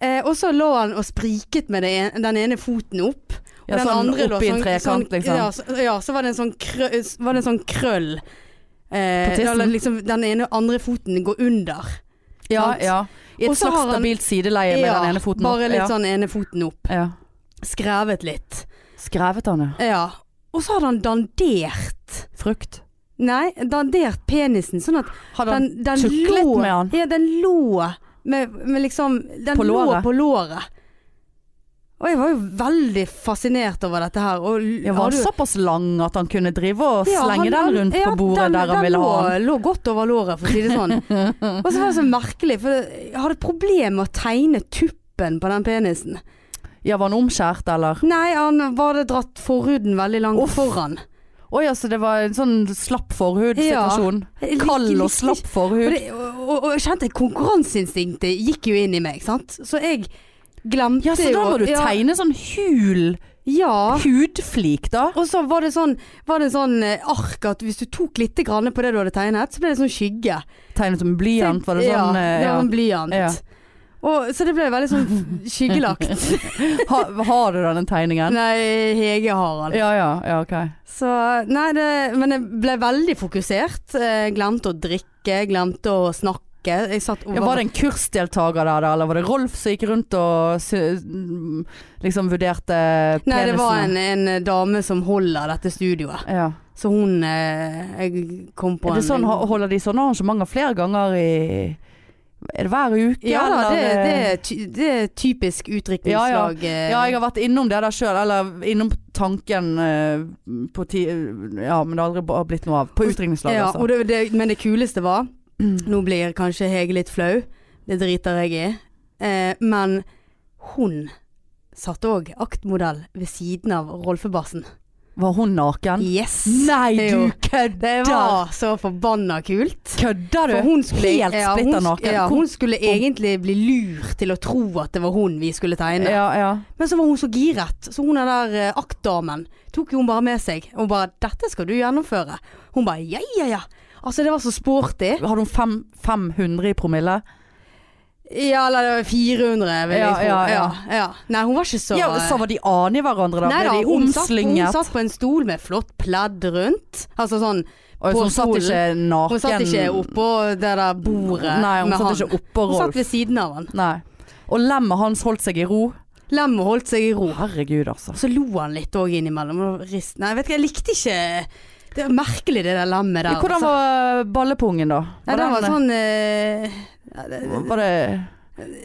Eh, og så lå han og spriket med det en, den ene foten opp. Og
Ja,
den
sånn
andre lå
oppi en
sånn-
trekant,
sånn-
liksom.
Ja, så, ja, så var det en sånn, krø, s- var det en sånn krøll.
På
Eh,
tissen?
eller liksom den ene andre foten går under.
Ja,
sant?
ja. I et
Sånn. Og så har
slags
han-
stabilt sideleie med
Ja,
den ene foten
bare
opp. Ja.
litt sånn ene foten opp.
Ja.
Skrevet litt.
Skrevet han, ja.
Ja. Og så hadde han dandert
Frukt.
Nei, dandert penisen sånn at
Hadde han
den, den
tuklet
lå
med han?
Ja, den lå med, med liksom Den
På
lå
låret?
på låret. Og jeg var jo veldig fascinert over dette her. Og, l-
ja, var han
hadde jo-
såpass lang at han kunne drive og
Ja,
slenge
han-
den rundt
ja,
på bordet
den,
der han
den
ville ha
lå,
den?
lå godt over låret, for å si
*laughs*
det sånn. og så var det så merkelig, for jeg hadde problemer med å tegne tuppen på den penisen.
Ja, var han omskjært, eller?
Nei, han var det dratt forhuden veldig langt
Uff.
foran.
Å ja, så det var en sånn slapp forhud-situasjon.
Jeg likte-
Kald og
likte
slapp
ikke- Og,
forhud.
det, og, og, og jeg kjente konkurranseinstinktet gikk jo inn i meg, sant. Så jeg glemte
Ja, så da må du
jo-
tegne sånn hul
Ja.
hudflik, da.
Og så var det sånn, var det sånn eh, ark at hvis du tok litt grann på det du hadde tegnet, så ble det sånn skygge.
Tegnet med blyant, var det sånn?
ja,
eh,
det
Ja,
var en blyant.
Ja.
Og, så det ble
*laughs*
veldig sånn skyggelagt.
Ha, har du den tegningen?
nei, Hege har han.
Ja, ja, ja, ok.
Så, nei, det, men jeg ble veldig fokusert. Eh, Glemte å drikke, glemte å snakke. Jeg satt
Ja, var det en kursdeltaker der, da? Eller var det Rolf som gikk rundt og sy- mm, liksom vurderte penisene?
Nei, det var en, en dame som holder dette studioet.
ja.
Så hun eh, Jeg kom på
Er det
en
sånn, ho- Holder de sånne arrangementer flere ganger i Er det hver uke?
Ja da, det,
eller?
det, er ty, det er typisk utdrikningslag. eh,
Ja, jeg har vært innom det der sjøl, eller innom tanken eh, på ti... Ja, men det har aldri ba- blitt noe av. På utdrikningslaget,
Ja, og
altså.
det, det, men det kuleste var
Mm.
Nå blir kanskje Hege litt flau. Det driter jeg i. Eh, men hun satt òg aktmodell ved siden av Rolfebassen.
Var hun naken?
Yes!
Nei,
Jo.
du
Det
kødder!
var så forbanna kult.
Kødder du?
For hun skulle,
Helt
ja, hun,
splitter
sk-
naken.
Ja,
Hvor-
hun skulle egentlig bli lurt til å tro at det var hun vi skulle tegne.
Ja, ja.
Men så var hun så giret, så hun er der eh, aktdamen tok jo hun bare med seg. Og bare 'dette skal du gjennomføre'. Hun bare 'ja, ja, ja'. Altså det var så sporty.
Hadde hun fem, 500 i promille?
Ja, eller det var 400 vil jeg
Ja,
tro.
ja,
Ja,
ja.
ja. Nei, hun var ikke så eh,
Ja, så var de ane i hverandre, da?
Nei da,
Ble de
hun satt, hun
omslynget?
satt på en stol med flott pledd rundt. Altså sånn
Oi, så
på
hun satt
stolen.
ikke naken?
Hun satt ikke oppå det der bordet
Nei, hun
med
satt
han.
ikke oppå
Hun satt
Rolf.
ved siden av han.
Nei. Og lemmet hans holdt seg i ro?
Lemmet holdt seg i ro.
Herregud, altså.
Så lo han litt òg innimellom. og rist- Nei, vet ikke, jeg likte ikke Det er merkelig det der lemmet der.
Hvordan
altså.
var ballepungen, da?
Nei, den var sånn eh,
Var det,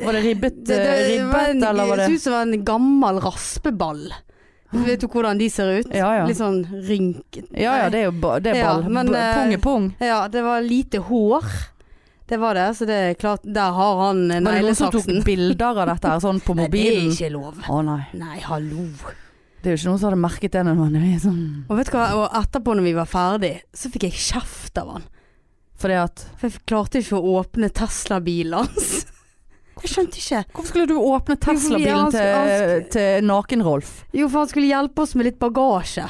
var det ribbet, eh,
det, det,
ribbet
var en,
eller var
Det så
det
ut som en gammel raspeball. Vet du hvordan de ser ut?
Ja ja.
Litt sånn rynket.
Ja ja, det er jo ba, det er
Ja,
ball.
men,
B-
eh,
pung er pung.
Ja, det var lite hår. Det var det, så det er klart Der har han eh,
Var det noen som tok
neglesaksen.
bilder av dette her, sånn på
*laughs* Nei, det er
mobilen?
ikke lov.
Å nei.
Nei, hallo.
Det er jo ikke noen som hadde merket det nødvendigvis. Sånn.
Og vet du hva, og etterpå når vi var ferdig, så fikk jeg kjeft av han.
Fordi at
For jeg klarte ikke å åpne Tesla-bilen hans. Jeg skjønte ikke.
Hvorfor skulle du åpne
Ja,
Tesla-bilen
han skulle- han
til, til Naken-Rolf?
Jo, for han skulle hjelpe oss med litt bagasje.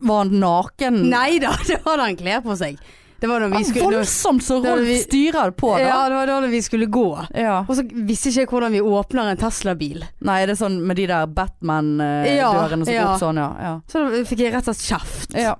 Var han naken?
Nei da, *laughs* det hadde han klær på seg. Det var når vi
Han
skulle
voldsomt så
da-
Rolf
vi-
styrer det på, da.
Ja, det var da vi skulle gå.
Ja.
Og så visste ikke jeg hvordan vi åpner en Tesla-bil.
Nei, er det sånn med de der
Ja,
Batman-dørene som går
ja.
opp sånn, ja. ja.
Så da fikk jeg rett og slett kjeft.
Ja.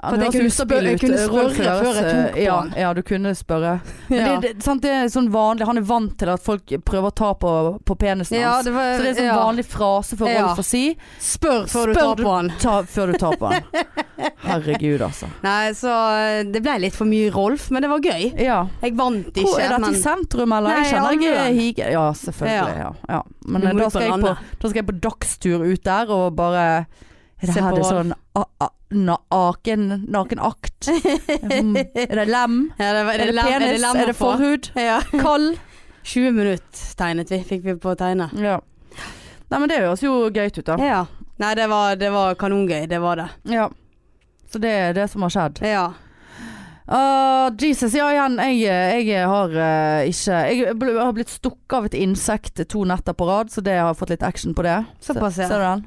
For at jeg kunne spørre- jeg kunne spørre før jeg tok på
ja,
han.
Ja, du kunne spørre. Men
Ja.
det, det, sant, det er sånn vanlig, han er vant til at folk prøver å ta på, på penisen hans.
det var,
så det er en sånn
ja.
vanlig frase for
Ja.
Rolf å si
Spør før du
Spør
tar
du-
på han.
ta, før du tar på
*laughs*
han. Herregud, altså.
Nei, så eh, det ble litt for mye Rolf, men det var gøy.
Ja.
Jeg vant ikke,
Hvor, er dette i
men
sentrum, eller?
Nei,
jeg kjenner jeg er
Alnøen.
hige... Ja, selvfølgelig. Ja. Ja. Men
Du
eh, da
må ut på
skal, jeg på,
landet.
da skal jeg på dagstur ut der og bare Er det
Se
her
på
det er
Rolf.
sånn a, a, na, aken,
*laughs*
nakenakt? Mm. Er det lem?
ja, det var,
Er det,
lem-
penis?
lem
er det
å få?
forhud?
*laughs* Ja.
Kald?
20 minutter tegnet vi, fikk vi på å tegne.
Ja. Nei, men det høres jo gøy ut, da.
Ja. Nei, det var, det var kanongøy, det var det.
Ja. Så det er det som har skjedd.
Ja.
Ah, Jesus, ja igjen. Jeg, jeg har eh, ikke Jeg ble- har blitt stukket av et insekt to netter på rad, så det har fått litt action på det.
Såpass, ja. Ah,
Ser du den?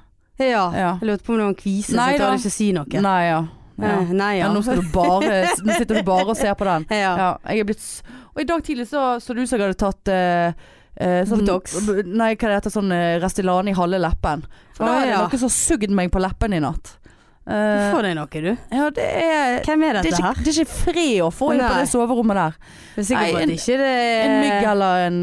ja.
Ja.
Jeg lurte på om det var en kvise,
Nei
så jeg
da.
torde ikke å si noe.
Nei, ja. ja.
Eh, Nei ja.
Men nå, skal du bare, nå sitter du bare og ser på den.
*laughs* ja.
Ja, jeg er blitt s- Og i dag tidlig så så det ut som jeg hadde tatt eh, eh, sånn,
Botox.
b- Nei, hva det heter sånn eh, Restylane i halve leppen. For da
Å,
er det
ja.
noen som har sugd meg på leppen i natt.
Du
Eh,
får deg noe, du.
ja, det er
Hvem er
det er,
dette her?
ikke, det er ikke fred å få inn på
Nei.
det soverommet der.
Jeg er sikker
Nei,
på
en-
at ikke det er
En mygg eller en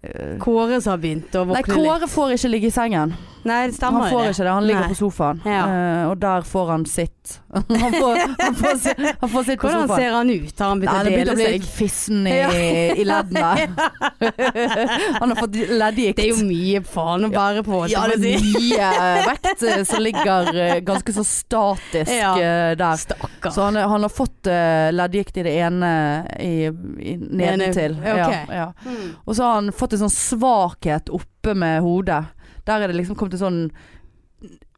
eh,
Kåre som har begynt å
Nei,
våkne litt.
Kåre får ikke ligge i sengen.
Nei,
Han
det stemmer
får
det.
ikke det. Han ligger
Nei.
på sofaen.
Ja.
Eh, og der får han sitt. *laughs* Han får, han får, si- han får sitt på
Hvordan
sofaen.
ser han ut? Har han
Nei,
begynt
han
å
har begynt
dele
å bli
seg?
litt fissen i,
Ja.
*laughs* i
*laughs*
leddene. han har fått leddgikt.
Det er jo mye faen å bære på.
ja,
holdt
det
jeg
er mye vekt eh, som ligger eh, ganske så statisk
Ja.
eh,
på å
der.
si. Stakkar.
Så han, han har fått eh, leddgikt i det ene i, i, nedentil.
Ene- ok.
Ja, ja.
Mm.
Og så har han fått en sånn svakhet oppe med hodet. Der er det liksom kommet en sånn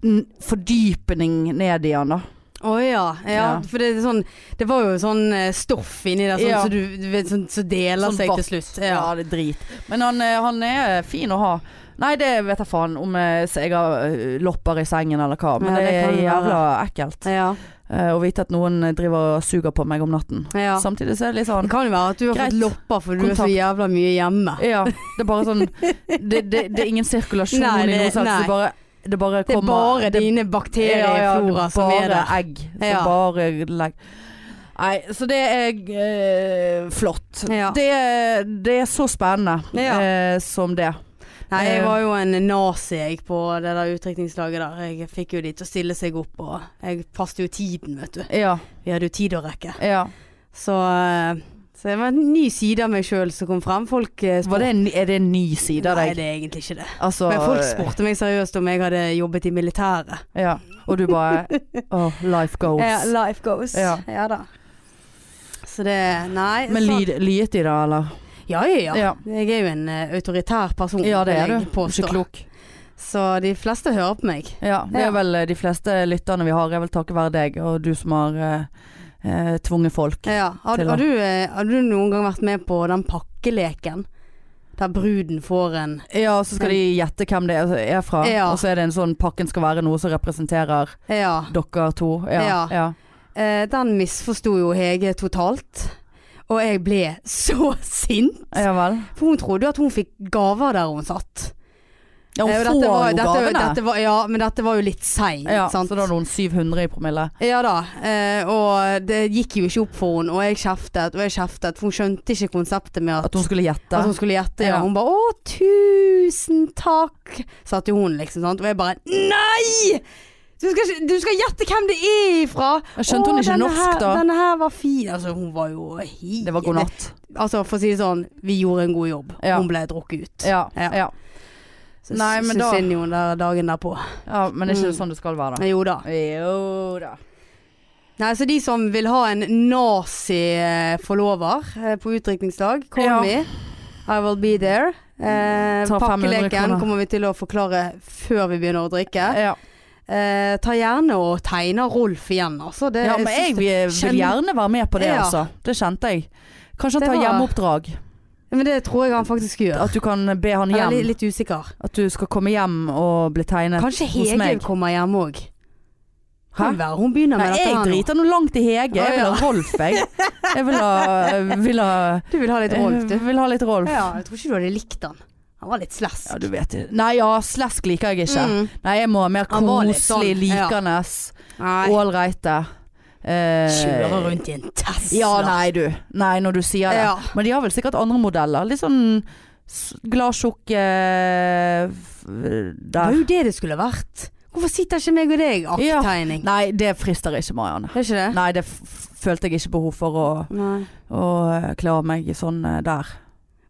n- fordypning ned i han da.
Å ja. ja.
Ja.
For det, er sånn, det var jo sånn eh, stoff inni der sånn,
Ja.
så du, du vet, sånn, så deler
Sånn
seg
vatt.
til slutt.
Ja,
Ja.
det er drit. Men han, eh, han er fin å ha. Nei, det vet jeg faen om eh, så jeg har eh, lopper i sengen eller hva, men
Ja,
det,
det kan
er
det
jævla ekkelt
Ja.
eh, å vite at noen driver og suger på meg om natten.
ja.
Samtidig så er det litt
Det
sånn
kan jo være at du har
Greit.
fått lopper for du er så
Kontakt.
jævla mye hjemme.
Ja, det er bare sånn Det, det, det er ingen sirkulasjon
Nei,
i noe
det-
som helst.
nei.
Det bare, det bare
Det er
kommer
bare dine
det
bakterieflora
er
som er der.
Bare egg. Som
Ja.
bare legg. Nei, så det er eh, flott.
Ja.
Det, er- det er så spennende
Ja.
eh, som det.
Nei, jeg
Eh.
var jo en nazi jeg på det der utdrikningslaget der. Jeg fikk jo de til å stille seg opp, og jeg passet jo tiden, vet du.
Ja.
Vi hadde jo tid å rekke.
ja.
Så, eh, Så det var en ny side av meg sjøl som kom frem. Folk eh,
Var det en, er det en ny side av
Nei,
deg?
det er egentlig ikke det.
Altså,
Men folk spurte meg seriøst om jeg hadde jobbet i militæret.
Ja. Og du
*laughs*
bare Åh, life goes.
Ja, life goes.
Ja.
da. Så det Nei.
Men
så-
lyd- lyet de da, eller?
Ja, ja, ja.
Ja.
Jeg er jo en eh, autoritær person.
Ja, det
vil
er du.
jeg
Du er
påstå.
Ikke klok.
Så de fleste hører på meg.
Ja, det
Ja.
er vel eh, de fleste lytterne vi har, er vel takket være deg og du som har eh, eh, tvunget folk.
Ja. Har,
Til
har,
å-
du, eh, har du noen gang vært med på den pakkeleken? Der bruden får en
Ja, og så skal de gjette hvem det er- altså, er fra,
Ja.
og så er det en sånn pakken skal være noe som representerer
Ja.
dere to. Ja.
Ja.
ja.
Eh, den misforsto jo Hege totalt. Og jeg ble *laughs* så sint.
Ja vel.
For hun trodde jo at hun fikk gaver der hun satt.
Ja, hun
Eh, og
får jo
var- dette,
gavene.
Dette var, ja, men dette var jo litt seint.
ja,
sant?
så da hadde hun 700 i promille.
Ja da, eh, og det gikk jo ikke opp for henne, og jeg kjeftet og jeg kjeftet, for hun skjønte ikke konseptet med at,
At hun skulle gjette.
at Altså, hun skulle gjette. Ja.
Ja.
Hun bare 'Å, tusen takk', sa til hun, liksom. Sant? Og jeg bare 'Nei! Du skal, ikke- du skal gjette hvem det er ifra!'
Jeg skjønte hun
«Å,
ikke
denne
norsk,
her,
da?
Denne her var fin. Altså, hun var jo helt
Det var god natt.
Altså, for å si det sånn, vi gjorde en god jobb.
Ja.
Hun ble drukket ut.
Ja,
Ja.
ja.
Så
Nei,
Nei,
men da-
synd jo der dagen derpå.
ja men det er ikke
Mm.
sånn det skal være, da.
Jo da.
Jo da.
Nei, så de som vil ha en nazi-forlover eh, på utdrikningsdag, call
Ja.
me. I will be there. Eh,
Ta 500
pakkeleken
kroner.
kommer vi til å forklare før vi begynner å drikke.
Ja.
Eh, ta gjerne og tegne Rolf igjen, altså. Det,
ja, men jeg
synes
vil,
kjenn-
vil gjerne være med på det,
Ja.
altså. Det kjente jeg. Kanskje
Det
han tar
var-
hjemmeoppdrag.
det, men det tror jeg han faktisk gjør.
At du kan be han
Jeg er litt,
hjem.
litt usikker.
At du skal komme hjem og bli tegnet
Kanskje
hos
Hege
meg.
kommer hjem òg.
Hæ?
Kan være hun
Nei,
begynner med dette
jeg
her nå.
driter nå langt i Hege. Jeg vil
Å,
ha Rolf, jeg. Jeg vil ha, vil ha,
Du vil ha litt Rolf, du?
Eh, jeg vil ha litt Rolf.
Ja, jeg tror ikke du hadde likt han. Han var litt slask.
Ja, du vet det. Nei ja, slesk liker jeg ikke.
Mm.
Nei, jeg må ha mer
Han var litt
koselig,
sånn, ja.
likende,
Nei.
ålreite.
Kjøre rundt i en Tesla.
eh, Ja, nei du. Nei, når du sier det.
Ja.
Men de har vel sikkert andre modeller. Litt sånn s- gladtjukk eh, f-
Det var
der.
jo det det skulle vært. Hvorfor sitter ikke meg og deg
Ja.
akttegning?
Nei, det frister ikke Marianne.
Det er ikke det?
Nei, det f følte jeg ikke behov for å,
Nei.
å eh, kle av meg sånn eh, der.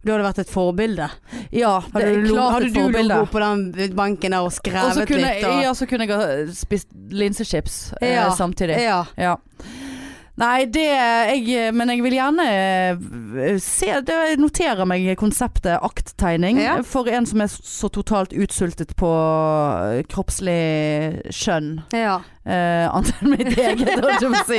Du hadde vært et forbilde.
Ja, det
Hadde
er
du, lo-
klart
hadde
et
du
forbilde.
ligget på den benken der og
Og så
skrevet
kunne,
litt? Og,
ja, så kunne jeg ha spist linsechips eh,
Ja.
samtidig.
ja.
Ja. Nei, det jeg, Men jeg vil gjerne eh, se det, Jeg noterer meg konseptet akttegning.
Ja.
For en som er så totalt utsultet på eh, kroppslig skjønn.
ja.
Eh, annet enn
*laughs*
mitt eget, holdt jeg på å si.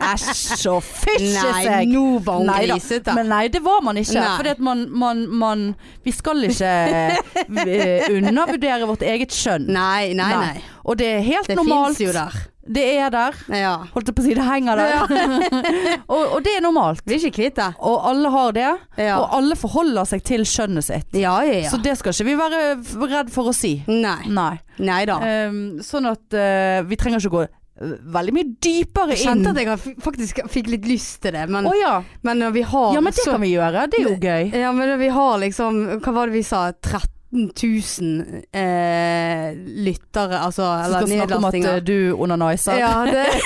Æsj og fysj i
Nei,
seg!
nå var hun
Nei da,
grisete.
Men nei, det var man ikke.
Nei.
Fordi at man, man, man Vi skal ikke
*laughs*
eh, undervurdere vårt eget skjønn.
Nei, nei,
Nei.
nei.
Og det er helt
Det
normalt.
fins jo der.
Det er der.
Ja.
Holdt jeg på å si, det henger der. *laughs* og, og det er normalt.
Blir ikke kvitt det.
Og alle har det.
Ja.
Og alle forholder seg til skjønnet sitt.
ja, ja, ja.
Så det skal ikke vi være f- redd for å si.
Nei.
Nei.
Nei da.
Ehm, sånn at eh, vi trenger ikke gå eh, veldig mye dypere
Jeg
inn.
kjente at jeg har- faktisk fikk litt lyst til det,
Å
men,
ja.
men når vi har
ja, men det
så
kan vi gjøre. Det er jo gøy.
Ja, men vi har liksom Hva var det vi sa? 13 000 eh, lyttere, altså
Så
Eller
skal snakke om at eh,
nedlastinger.
du onaniser.
Ja, det
*laughs*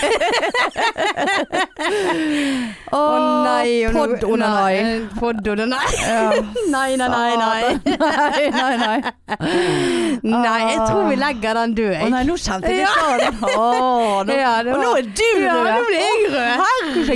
Å
Å nei. og nå-
Pod-onanai.
nei, eh,
*laughs*
Pod-onanai.
Ja.
Nei, nei, nei, nei.
nei, nei,
*laughs*
nei.
Nei, jeg tror vi legger den død.
Å
jeg.
nei, nå kjente jeg det sånn. Å, nå,
Ja, det
og nå
var-
er du
Ja,
rød.
nå ble jeg rød.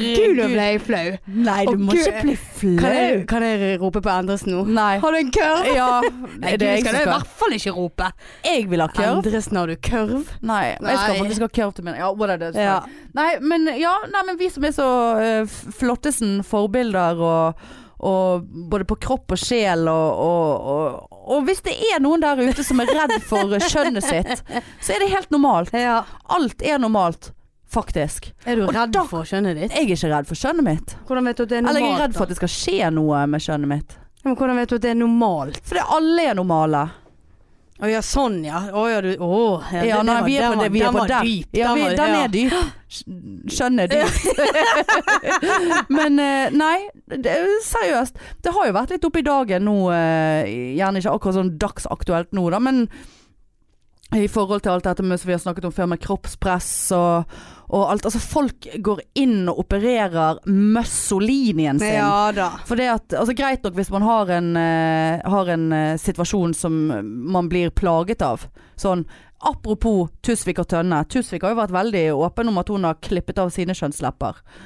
Gud, nå ble jeg flau.
Nei, du
Å,
må
Gud.
ikke bli
Kan
flau.
jeg, kan jeg rope på Endresen nå?
Nei.
Har du en kurv?
Ja,
Nei,
det
du
er jeg
skal
som
i
skal.
hvert fall ikke rope.
Jeg vil ha kurv.
Endresen, har du kurv?
Nei, men jeg skal
Nei.
faktisk ha kurv til min. Ja, whatever. det er.
Ja.
Nei, men, ja, nei, men vi som er så eh, f- flottesen forbilder og, og både på kropp og sjel og, og, og, og hvis det er noen der ute som er redd for kjønnet sitt, så er det helt normalt.
ja.
Alt er normalt, faktisk.
Er du
Og
redd
da-
for kjønnet ditt?
Jeg er ikke redd for kjønnet mitt.
Hvordan vet du at det er normalt?
Eller jeg er redd
da?
for at det skal skje noe med kjønnet mitt.
Ja, Men hvordan vet du at det er normalt?
Fordi alle er normale.
Å ja, sånn ja. Å ja, du Å. Ja,
Ja,
det-
nei,
det var-
vi er
den
på det.
var-
Vi er
den
på
var
den.
dyp.
Ja, vi,
var-
den
ja.
er
*laughs*
dyp. Skjønner dypt. *laughs* Men eh, nei, det, seriøst. Det har jo vært litt oppe i dagen nå, eh, gjerne ikke akkurat sånn dagsaktuelt nå da, men i forhold til alt dette med, som vi har snakket om før, med kroppspress og, og alt. Altså, folk går inn og opererer mussolinien sin.
Ja da.
For det at, altså Greit nok hvis man har en, eh, har en eh, situasjon som man blir plaget av. Sånn, apropos Tusvik og Tønne. Tusvik har jo vært veldig åpen om at hun har klippet av sine kjønnslepper.
Var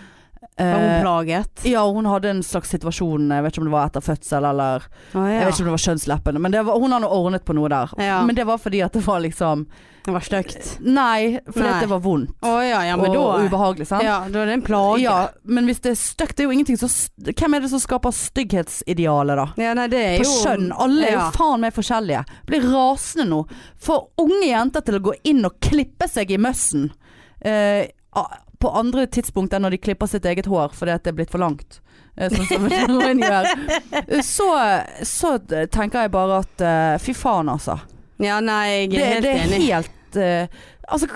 hun
Eh,
plaget?
ja, hun hadde en slags situasjon, jeg vet ikke om det var etter fødsel eller
Å
Jeg
ja.
vet ikke om det var kjønnsleppene, men det var, hun hadde ordnet på noe der.
Ja.
Men det var fordi at det var liksom
Det var stygt.
Nei, fordi
Nei.
at det var vondt
Å ja, ja, men
og
da
ubehagelig, sant?
Ja, da er det en plage.
Ja, men hvis det er stygt, det er jo ingenting som st- Hvem er det som skaper stygghetsidealet, da?
Ja, nei, det er
På
jo
skjønn. Alle er jo
ja.
faen meg forskjellige. Blir rasende nå. Får unge jenter til å gå inn og klippe seg i møssen. Eh, a- på andre tidspunkt enn når de klipper sitt eget hår fordi at det er blitt for langt. Eh, Sånn som *laughs* noen
*laughs*
gjør. Så, så tenker jeg bare at eh, fy faen, altså.
Ja, nei, jeg
Det,
er helt
det er
enig.
helt eh, Altså,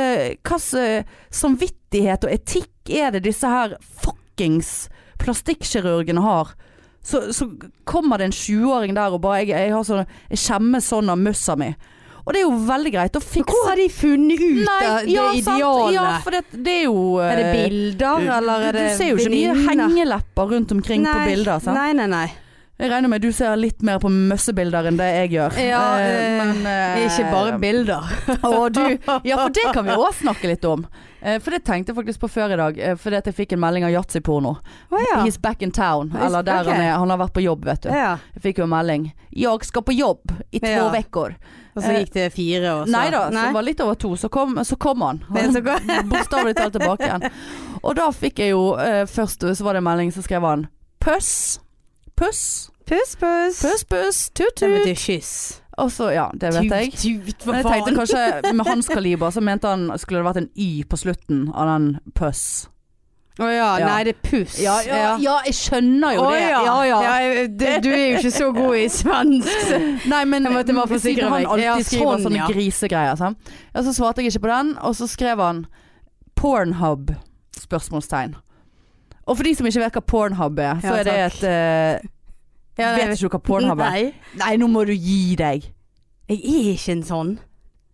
hvilken samvittighet og etikk er det disse her fuckings plastikkirurgene har? Så, så kommer det en 20-åring der og bare jeg, jeg, har sånn, jeg skjemmes sånn av mussa mi. Og det er jo veldig greit å
Men
fikse
hvor har de funnet ut
Nei,
av det
ja, sant.
idealet?
Ja, for det, det er jo eh,
er det bilder, eller er
du,
det
du ser jo ikke mye
venninner?
hengelepper rundt omkring
Nei,
på bilder. Sant?
Nei, nei, nei.
Jeg regner med du ser litt mer på møssebilder enn det jeg gjør.
Ja,
Eh,
eh,
eh,
Ikke bare bilder.
og du, *laughs* ja, for det kan vi òg snakke litt om. Eh, for det tenkte jeg faktisk på før i dag, eh, fordi at jeg fikk en melding av Yatzy-porno.
Å ja.
He's back in town,
He's-
eller der
ok.
han er. Han har vært på jobb, vet du.
ja.
Jeg fikk jo en melding. 'Jeg skal på jobb i to
Ja.
uker'.
Og så gikk det fire, og så
Nei da, så
Nei.
det var litt over to. Så kom, så kom han.
Det er så godt.
*laughs* Bokstavelig talt tilbake igjen. Og da fikk jeg jo eh, først Så var det en melding, så skrev han 'puss'. Puss,
Puss, puss.
puss, puss,
Det
tut-tut.
betyr kyss.
Og så, ja, det vet jeg.
Tut,
Men jeg tenkte kanskje med hans kaliber så mente han skulle det vært en Y på slutten av den puss.
Å ja,
Ja.
nei, det er puss.
jeg skjønner
Å ja.
Ja, ja.
jeg- det, du er jo ikke så god i svensk. så- *laughs*
Nei, men
Jeg måtte bare forsikre
siden han
meg.
alltid
Ja,
skriver
sånn,
sånne
ja.
grisegreier, sant? Ja, så svarte jeg ikke på den, og så skrev han Pornhub? Spørsmålstegn. Og for de som ikke vet hva pornhub er, så
Ja,
er det
takk.
et eh,
Ja, nei,
Vet ikke du hva pornhub er?
Nei.
Nei, nå må du gi deg.
Jeg er ikke en sånn.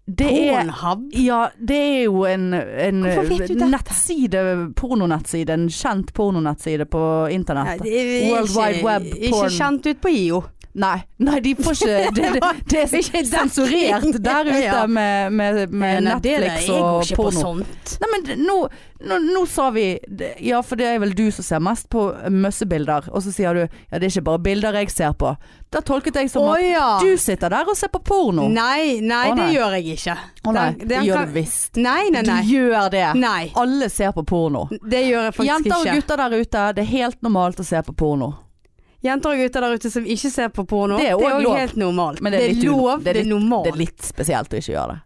Det er
Pornhub?
Ja, det er jo en, en
Hvorfor vet du dette?
nettside, pornonettside, en kjent pornonettside på internett.
Nei, det er
World
ikke-
Wide Web
Ikke
porn.
kjent ut på *laughs* IO.
Nei, nei, de får
*laughs*
ikke Det, det, det er
Ikke dekning.
sensurert der ute
*laughs* Ja.
med, med, med
Nei, det er det.
Netflix og
Jeg går ikke på sånn.
porno.
sånt.
Nei, men d- nå, nå, nå sa vi d- Ja, for det er vel du som ser mest på eh, møssebilder. Og så sier du ja, det er ikke bare bilder jeg ser på. Da tolket jeg som
Å
at
ja.
du sitter der og ser på porno. Å
Nei, nei,
Å,
det
nei.
gjør jeg ikke.
nei,
Den-
det
den
gjør
kan-
du visst.
Nei, nei,
Du
nei.
gjør det.
Nei,
Alle ser på porno.
det gjør jeg faktisk
Jenter og
ikke.
gutter der ute, det er helt normalt å se på porno.
Jenter og gutter der ute som ikke ser på porno,
Det er også
jo
lov.
helt normalt.
Men det er litt uno-
lov,
det er
det er
litt-
normalt.
Det er litt spesielt å ikke gjøre det.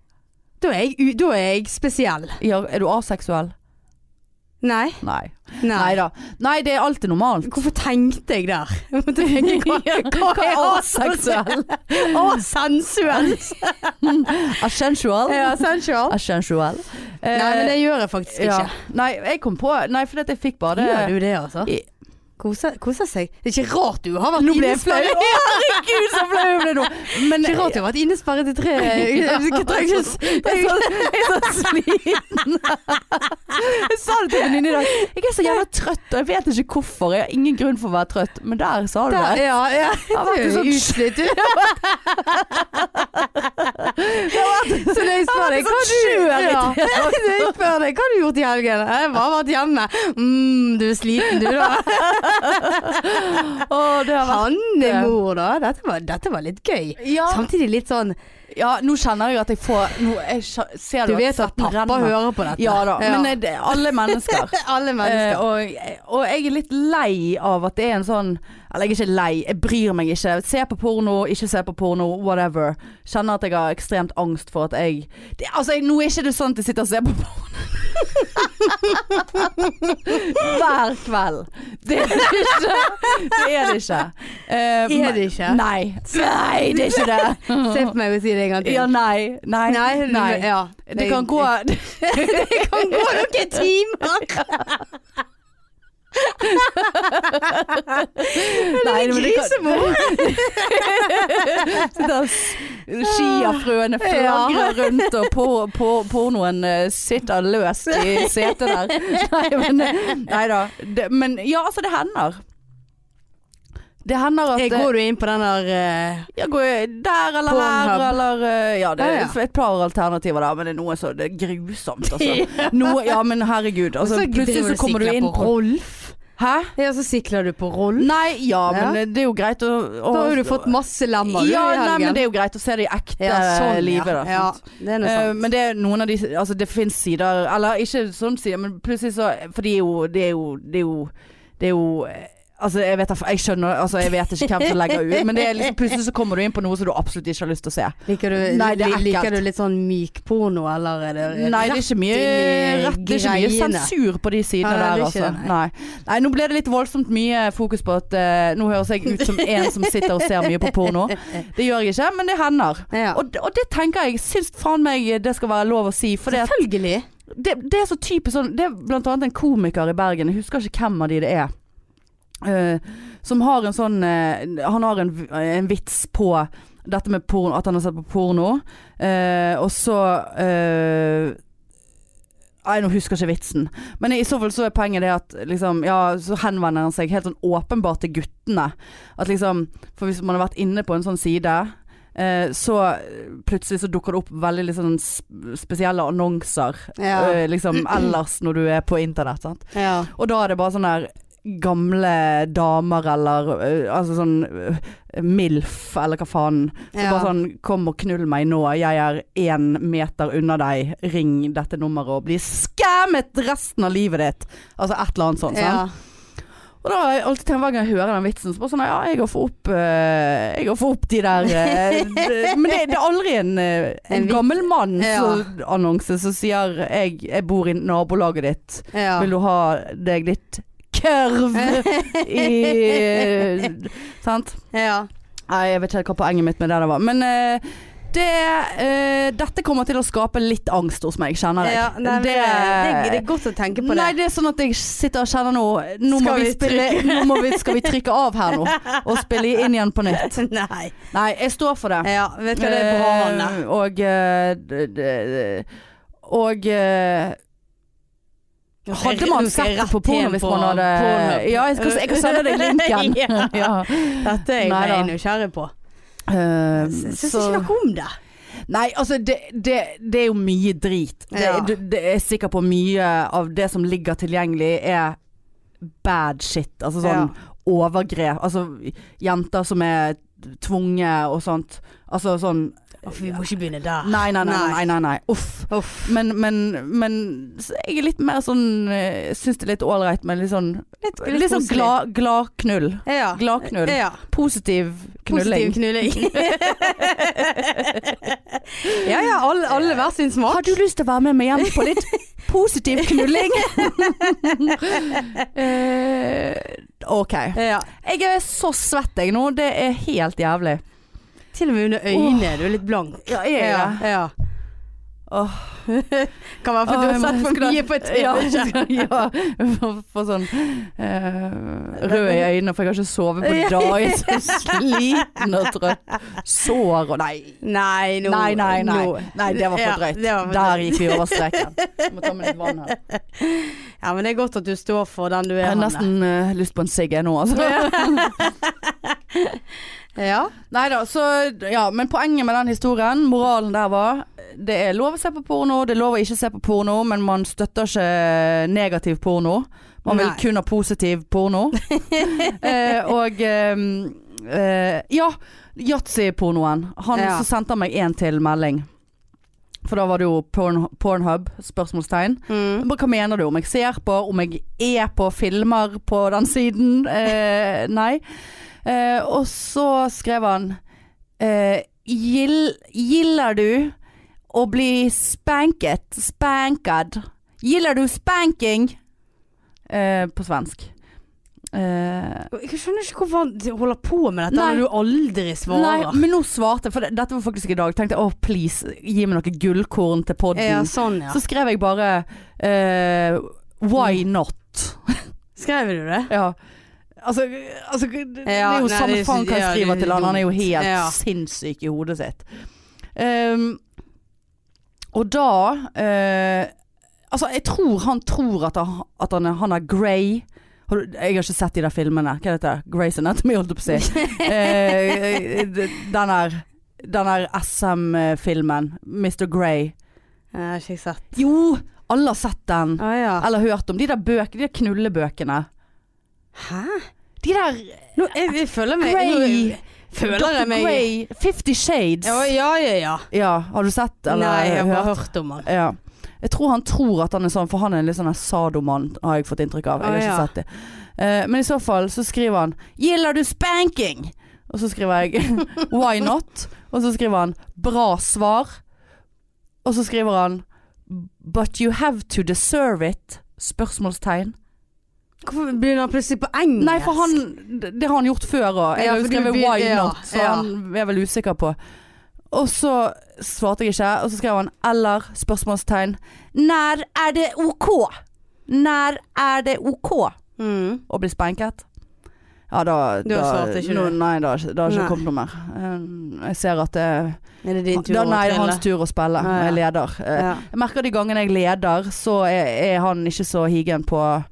Da, er jeg, u- da er jeg spesiell.
Ja, er du aseksuell?
Nei.
Nei.
nei.
Nei da. Nei, det er alltid normalt.
Hvorfor tenkte jeg der? *laughs* Jeg måtte
*laughs*
tenke hva,
Ja,
hva er aseksuell?
aseksuell?
Å, sensuell!
Asensual?
Ja, sensual.
Asensual. *laughs* Eh,
Nei, men det gjør jeg faktisk
ja.
ikke.
Nei, jeg kom på Nei, fordi at jeg fikk bare
Gjør du det, altså?
I-
Koser, koser seg. Det er ikke rart du har vært
Nå ble jeg flau. *laughs*
innesperret.
Herregud, så flau jeg ble nå. Men
Ikke rart du har vært innesperret i tre
*laughs* Ja.
Jeg trenger ikke s-
*laughs* Jeg er så, jeg er så sliten. Jeg sa det til en venninne i dag. Jeg er så jævla trøtt, og jeg vet ikke hvorfor. Jeg har ingen grunn for å være trøtt, men der sa du
Der,
det.
ja, ja.
har vært en
Du er
sånn-
utslitt, *laughs* du. Så når jeg spør deg,
Jeg har vært en
hva
sånn
du
skjør i
ja.
tre
Når jeg spør deg, hva har du gjort i helgen? Jeg har bare vært hjemme. Mm, du er sliten du
*laughs*
da.
Å, det har vært
Hannemor da. Dette var, dette var litt gøy.
ja.
Samtidig litt sånn,
ja, nå kjenner jeg at jeg får nå, jeg skj- Ser
du
at
vet at
svetten
pappa
renner.
hører på dette.
Ja da, men
Ja.
eh, det, alle *laughs* mennesker.
Alle
Eh,
mennesker.
og, og jeg er litt lei av at det er en sånn Eller jeg er ikke lei, jeg bryr meg ikke. Se på porno, ikke se på porno, whatever. Kjenner at jeg har ekstremt angst for at jeg det, Altså, jeg, nå er ikke det sånn at jeg sitter og ser på porno. *laughs* Hver kveld. Det er det ikke. Det er det ikke. Eh,
Er det ikke?
Nei. Nei, det er ikke det.
*laughs* Se på meg og si det en gang
mm.
til.
Ja, nei. Nei.
Nei,
nei.
Ja.
Det kan gå
*laughs* Det kan gå noen timer.
*laughs* Nei, men det kan-
Grisemor!
Sitter skiafrøene flagrer rundt, og por por pornoen eh, sitter løst i setet
*laughs*
der. Nei, men, eh, nei da. Det, men ja, altså, det hender. Det hender at
Eh,
eh,
Går du inn på den der eh,
ja, går jeg der eller
Pornhub.
her eller eh, Ja, det
Ja,
er
ja.
et par alternativer der, men det er noe så det er grusomt,
*laughs*
altså. Noe, ja, men herregud.
og
Altså,
så
plutselig
driver
så
du
kommer du
sikler
inn
på
på
Rolf.
Hæ?
Ja, så sikler du på Rolf.
Nei, ja,
Ja.
men eh, det er jo greit å, å
Da har jo du fått masse lemmer du,
ja,
i helgen. sånn,
nei, men det er jo greit å se det i ekte livet, da.
Ja,
sant?
det er noe
Eh,
sant.
men det er noen av de Altså det finnes sider Eller ikke sånn sider Men plutselig så For de er jo Det er jo Det er jo, det er jo eh, Altså jeg vet da fa- Jeg skjønner Altså jeg vet ikke hvem som legger ut Men det er liksom Plutselig så kommer du inn på noe Som du absolutt ikke har lyst til å se
liker, du,
Nei, det er
li- liker
ekkelt.
du litt sånn myk porno, eller er det
Nei det er ikke mye
Eh, inn i
rett, Det er ikke mye
greiene.
sensur på de sidene
Nei,
der
det er
altså
ikke det,
nei. nei nå ble det litt voldsomt mye fokus på at eh, Nå høres jeg ut som en som sitter og ser mye på porno Det gjør jeg ikke Men det hender
Ja.
og, og det tenker jeg Syns faen meg det skal være lov å si For det at
Selvfølgelig.
det, det er så typisk sånn Det er blant annet en komiker i Bergen Jeg husker ikke hvem av de det er eh, Som har en sånn eh, Han har en, v- en vits på Dette med porno, at han har sett på porno eh, Og så eh, Nei, nå husker jeg ikke vitsen Men i så fall så er poenget det at liksom, Ja, så henvender han seg helt sånn åpenbart til guttene At liksom For hvis man har vært inne på en sånn side eh, så plutselig så dukker det opp veldig litt sånn sp- spesielle annonser
Ja.
øh, liksom ellers når du er på internett. Sant?
ja.
Og da er det bare sånne der gamle damer eller øh, altså sånn øh, MILF eller hva faen. Så
Ja.
bare sånn kom og knull meg nå, jeg er én meter unna deg, ring dette nummeret og bli skammet resten av livet ditt. Altså et eller annet sånt. sant?
Ja.
Og da har jeg alltid tenkt hver gang jeg hører den vitsen, så bare sånn Ja, jeg går for opp eh, Jeg går for opp de der
*laughs*
eh, d- Men det, det er aldri en, eh, en
En vits.
gammel mann
Ja.
som annonse som sier jeg, 'Jeg bor i nabolaget ditt.
Ja.
Vil du ha deg litt
*laughs*
kørv i Sant?
ja.
Nei, jeg vet ikke hva poenget mitt med det der var. Men eh, det eh, Dette kommer til å skape litt angst hos meg, kjenner jeg.
ja. Nei, men det, det, det er godt å tenke på det.
Nei, det er sånn at jeg sitter og kjenner nå Nå, må
Skal
vi
vi
spille, nå må vi, skal vi trykke av her
*laughs*
nå og spille inn igjen på nytt.
Nei.
Nei, jeg står for det.
Ja, vet du hva det er bra, Anne.
Eh, Og eh, d- d- Og eh, hadde man
Nå skal jeg
sett på
rett
porno
inn
hvis
på
man hadde
Pornhub.
Ja, jeg skal, jeg skal sende
*laughs*
deg linken.
Ja.
*laughs* ja.
Dette er
Nei
jeg
da.
veldig nysgjerrig på.
Eh,
Jeg syns
så-
ikke noe om det.
Nei, altså det, det, det er jo mye drit. Det,
Ja.
du, det er sikker på mye av det som ligger tilgjengelig er bad shit. Altså sånn overgrep. Altså jenter som er tvunget og sånt. Altså sånn
Å, for vi må ikke begynne der.
Nei, nei, nei. Ah, nei,
Nei.
nei, nei. Uff.
Uff.
Men, men, men så jeg er litt mer sånn eh, Syns det er litt ålreit med litt sånn
Litt,
Litt, sånn glad glad knull.
Ja.
Glad knull.
Ja.
Positiv knulling.
Positiv knulling.
*laughs*
ja ja, alle, alle hver sin smak.
Har du lyst til å være med meg hjem på *laughs* litt positiv *laughs* knulling? Eh, ok.
Ja.
Jeg er så svett jeg nå. Det er helt jævlig.
Til og med under øynene. Du er litt blank.
Ja, jeg er det.
ja.
Åh.
*laughs* Kan være fordi du
Åh,
har
jeg
sett
må-
for
skulle-
mye på
*laughs* Ja,
TV.
ja. For, for sånn eh, rød i øynene, for jeg har ikke sovet på
*laughs*
dagen. Jeg er så sliten og trøtt. Sår og Nei.
Nei, nå
Nei, nei, nei.
nå.
nei det var
Ja,
for drøyt.
det var for
Der
drøyt.
gikk vi over
*laughs*
streken. Jeg Må ta med litt vann her.
Ja, men det er godt at du står for den du er.
Jeg har
Hanne.
nesten eh, lyst på en sigg jeg nå, altså.
Ja.
Nei da, så ja, men poenget med den historien, moralen der var Det er lov å se på porno, det er lov å ikke se på porno, men man støtter ikke negativ porno. Man vil
Nei.
kun ha positiv
*laughs*
porno. eh, og eh, eh, Ja, yatzy-pornoen. Han
Ja.
som sendte meg en til melding. For da var det jo porn, Pornhub? Spørsmålstegn.
Mm.
Bare, hva mener du? Om jeg ser på? Om jeg er på filmer på den siden? Eh, nei. Eh, og så skrev han eh, Gill, Gillar du å bli spanket? Spankad? Gillar du spanking? Eh, på svensk. Eh,
Jeg skjønner ikke hvorfor han holder på med dette
Nei.
når du aldri
nei,
svarer.
men nå svarte jeg, for det, dette var faktisk i dag. Tenkte jeg, åh please, gi meg noe gullkorn til podden.
Ja, sånn ja.
Så skrev jeg bare eh, Why not?
Skrev du det?
Ja. Altså, altså det det
Ja,
er jo
nei,
samme
det
faen
synes-
hva jeg
ja, det
skriver
er
til han. Han er jo
dumt.
helt
Ja.
sinnssyk i hodet sitt. Ehm, og da eh, Altså, jeg tror han tror at han, at han, er, han er grey. Har du- Jeg har ikke sett de der filmene. Hva er dette? Grey's Anatomy, holdt jeg på å
*laughs*
si. Eh, d- den der, den der SM-filmen. Mr. Grey.
Jeg har ikke sett.
Jo! Alle har sett den.
Å ja.
Eller hørt om. De der bøkene, de der knullebøkene.
Hæ?
De der
Nå, jeg, jeg føler meg
Grey.
nå, Føler
Dr.
jeg meg
Grey, Fifty Shades.
Ja, ja, ja. ja.
Ja, har du sett eller
Nei, jeg har bare
hørt?
hørt om han.
Ja. Jeg tror han tror at han er sånn, for han er en litt sånn her sadomann, har jeg fått inntrykk av. Jeg har
Å,
ikke
ja.
sett det. Eh, men i så fall så skriver han 'Gilder du spanking?' Og så skriver jeg *laughs* 'Why not?' Og så skriver han 'Bra svar'. Og så skriver han 'But you have to deserve it?' Spørsmålstegn.
Hvorfor begynner han plutselig på engelsk?
Nei, for han, det det har han gjort før òg. Jeg
Ja,
har jo
for du
skrevet
begyn-
'why
ja,
not', så
ja.
han er vel usikker på. Og så svarte jeg ikke, og så skrev han 'eller?' spørsmålstegn. 'Når er det ok?' Når er det ok
mm.
å bli spenket? Ja, da,
Da svarte ikke du.
nå- Nei, da, har ikke- da har ikke
Nei.
kommet noe mer. Eh, Jeg ser at det,
Er det din tur
da, Nei, det
å
er hans tur
trille?
å spille.
Ja, ja.
Jeg leder. Eh,
Ja.
Jeg merker de gangene jeg leder, så er, er han ikke så higen på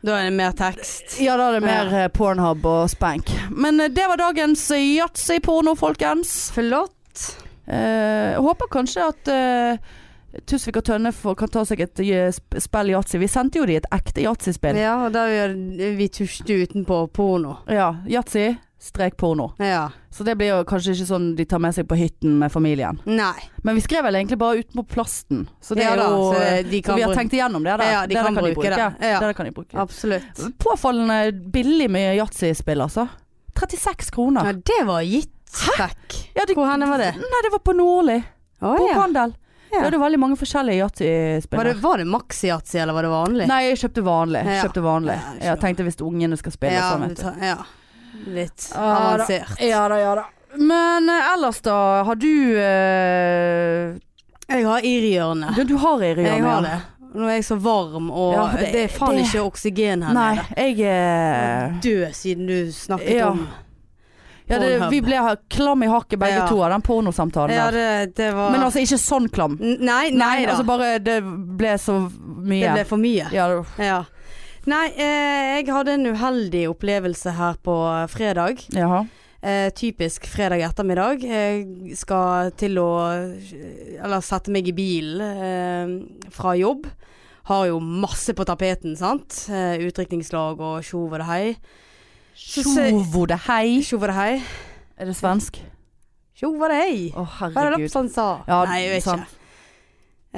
Da er det mer tekst.
ja, da er det mer eh, Pornhub og spank. Men eh, det var dagens eh, yatzy-porno, folkens.
Flott.
Eh, jeg håper kanskje at eh, Tusvik og Tønne får, kan ta seg et eh, sp- spill yatzy. Vi sendte jo de et ekte yatzy-spill.
Ja, og da gjør vi tusjte utenpå porno.
Ja, yatzy strek porno.
Ja.
Så det blir jo kanskje ikke sånn de tar med seg på hytten med familien.
Nei.
Men vi skrev vel egentlig bare utenpå plasten. Så det
ja,
er
da,
jo
så
eh,
det- de
så
kan
vi har
bruke-
tenkt igjennom det. Der.
Ja, de
det der
kan
de
bruke det. Ja.
Det der kan de bruke.
Absolutt.
Påfallende billig med yatzy-spill, altså. 36 kroner.
Ja, det var gitt trekk.
Ja, det-
Hvor henne var det?
Nei, det var på Nordli.
Å
På
ja.
Handel. Vi hadde veldig mange forskjellige
Var
yatzy-spill.
det, var det maxi-yatzy, eller var det vanlig?
Nei, jeg kjøpte vanlig.
Ja.
Kjøpte vanlig.
Ja, jeg
Jeg tenkte hvis ungene skal spille
ja,
sånn, vet
ta- ja. Litt
Ja, da.
avansert.
du. Ja da, ja da. Men eh, ellers da, har du eh,
Jeg har irrhjørne.
Du, du har i
Jeg har
Rihanna?
det. Nå er jeg så varm, og
Ja, for
det,
det-
er faen
det-
ikke oksygen her
Nei,
nede.
jeg eh,
Jeg er Død siden du snakket
Ja.
om
ja, det, Vi ble ha- klam i hakket begge
Ja.
to av den pornosamtalen
Ja,
der.
det, det var
Men altså ikke sånn klam.
N- Nei, nei da.
altså bare Det ble så mye.
det ble for mye.
ja, det,
Ja. Nei, eh, jeg hadde en uheldig opplevelse her på fredag.
jaha.
Eh, typisk fredag ettermiddag. Jeg skal til å Eller sette meg i bilen eh, fra jobb. Har jo masse på tapeten, sant. Eh, Utdrikningslag og tjo og det hei. Så se-
Tjovo det hei.
Tjo og det hei.
Er det svensk?
Tjo og det hei.
Å,
Hva er det
herregud.
Lapsan sa?
Ja,
nei, jeg vet
sant.
ikke.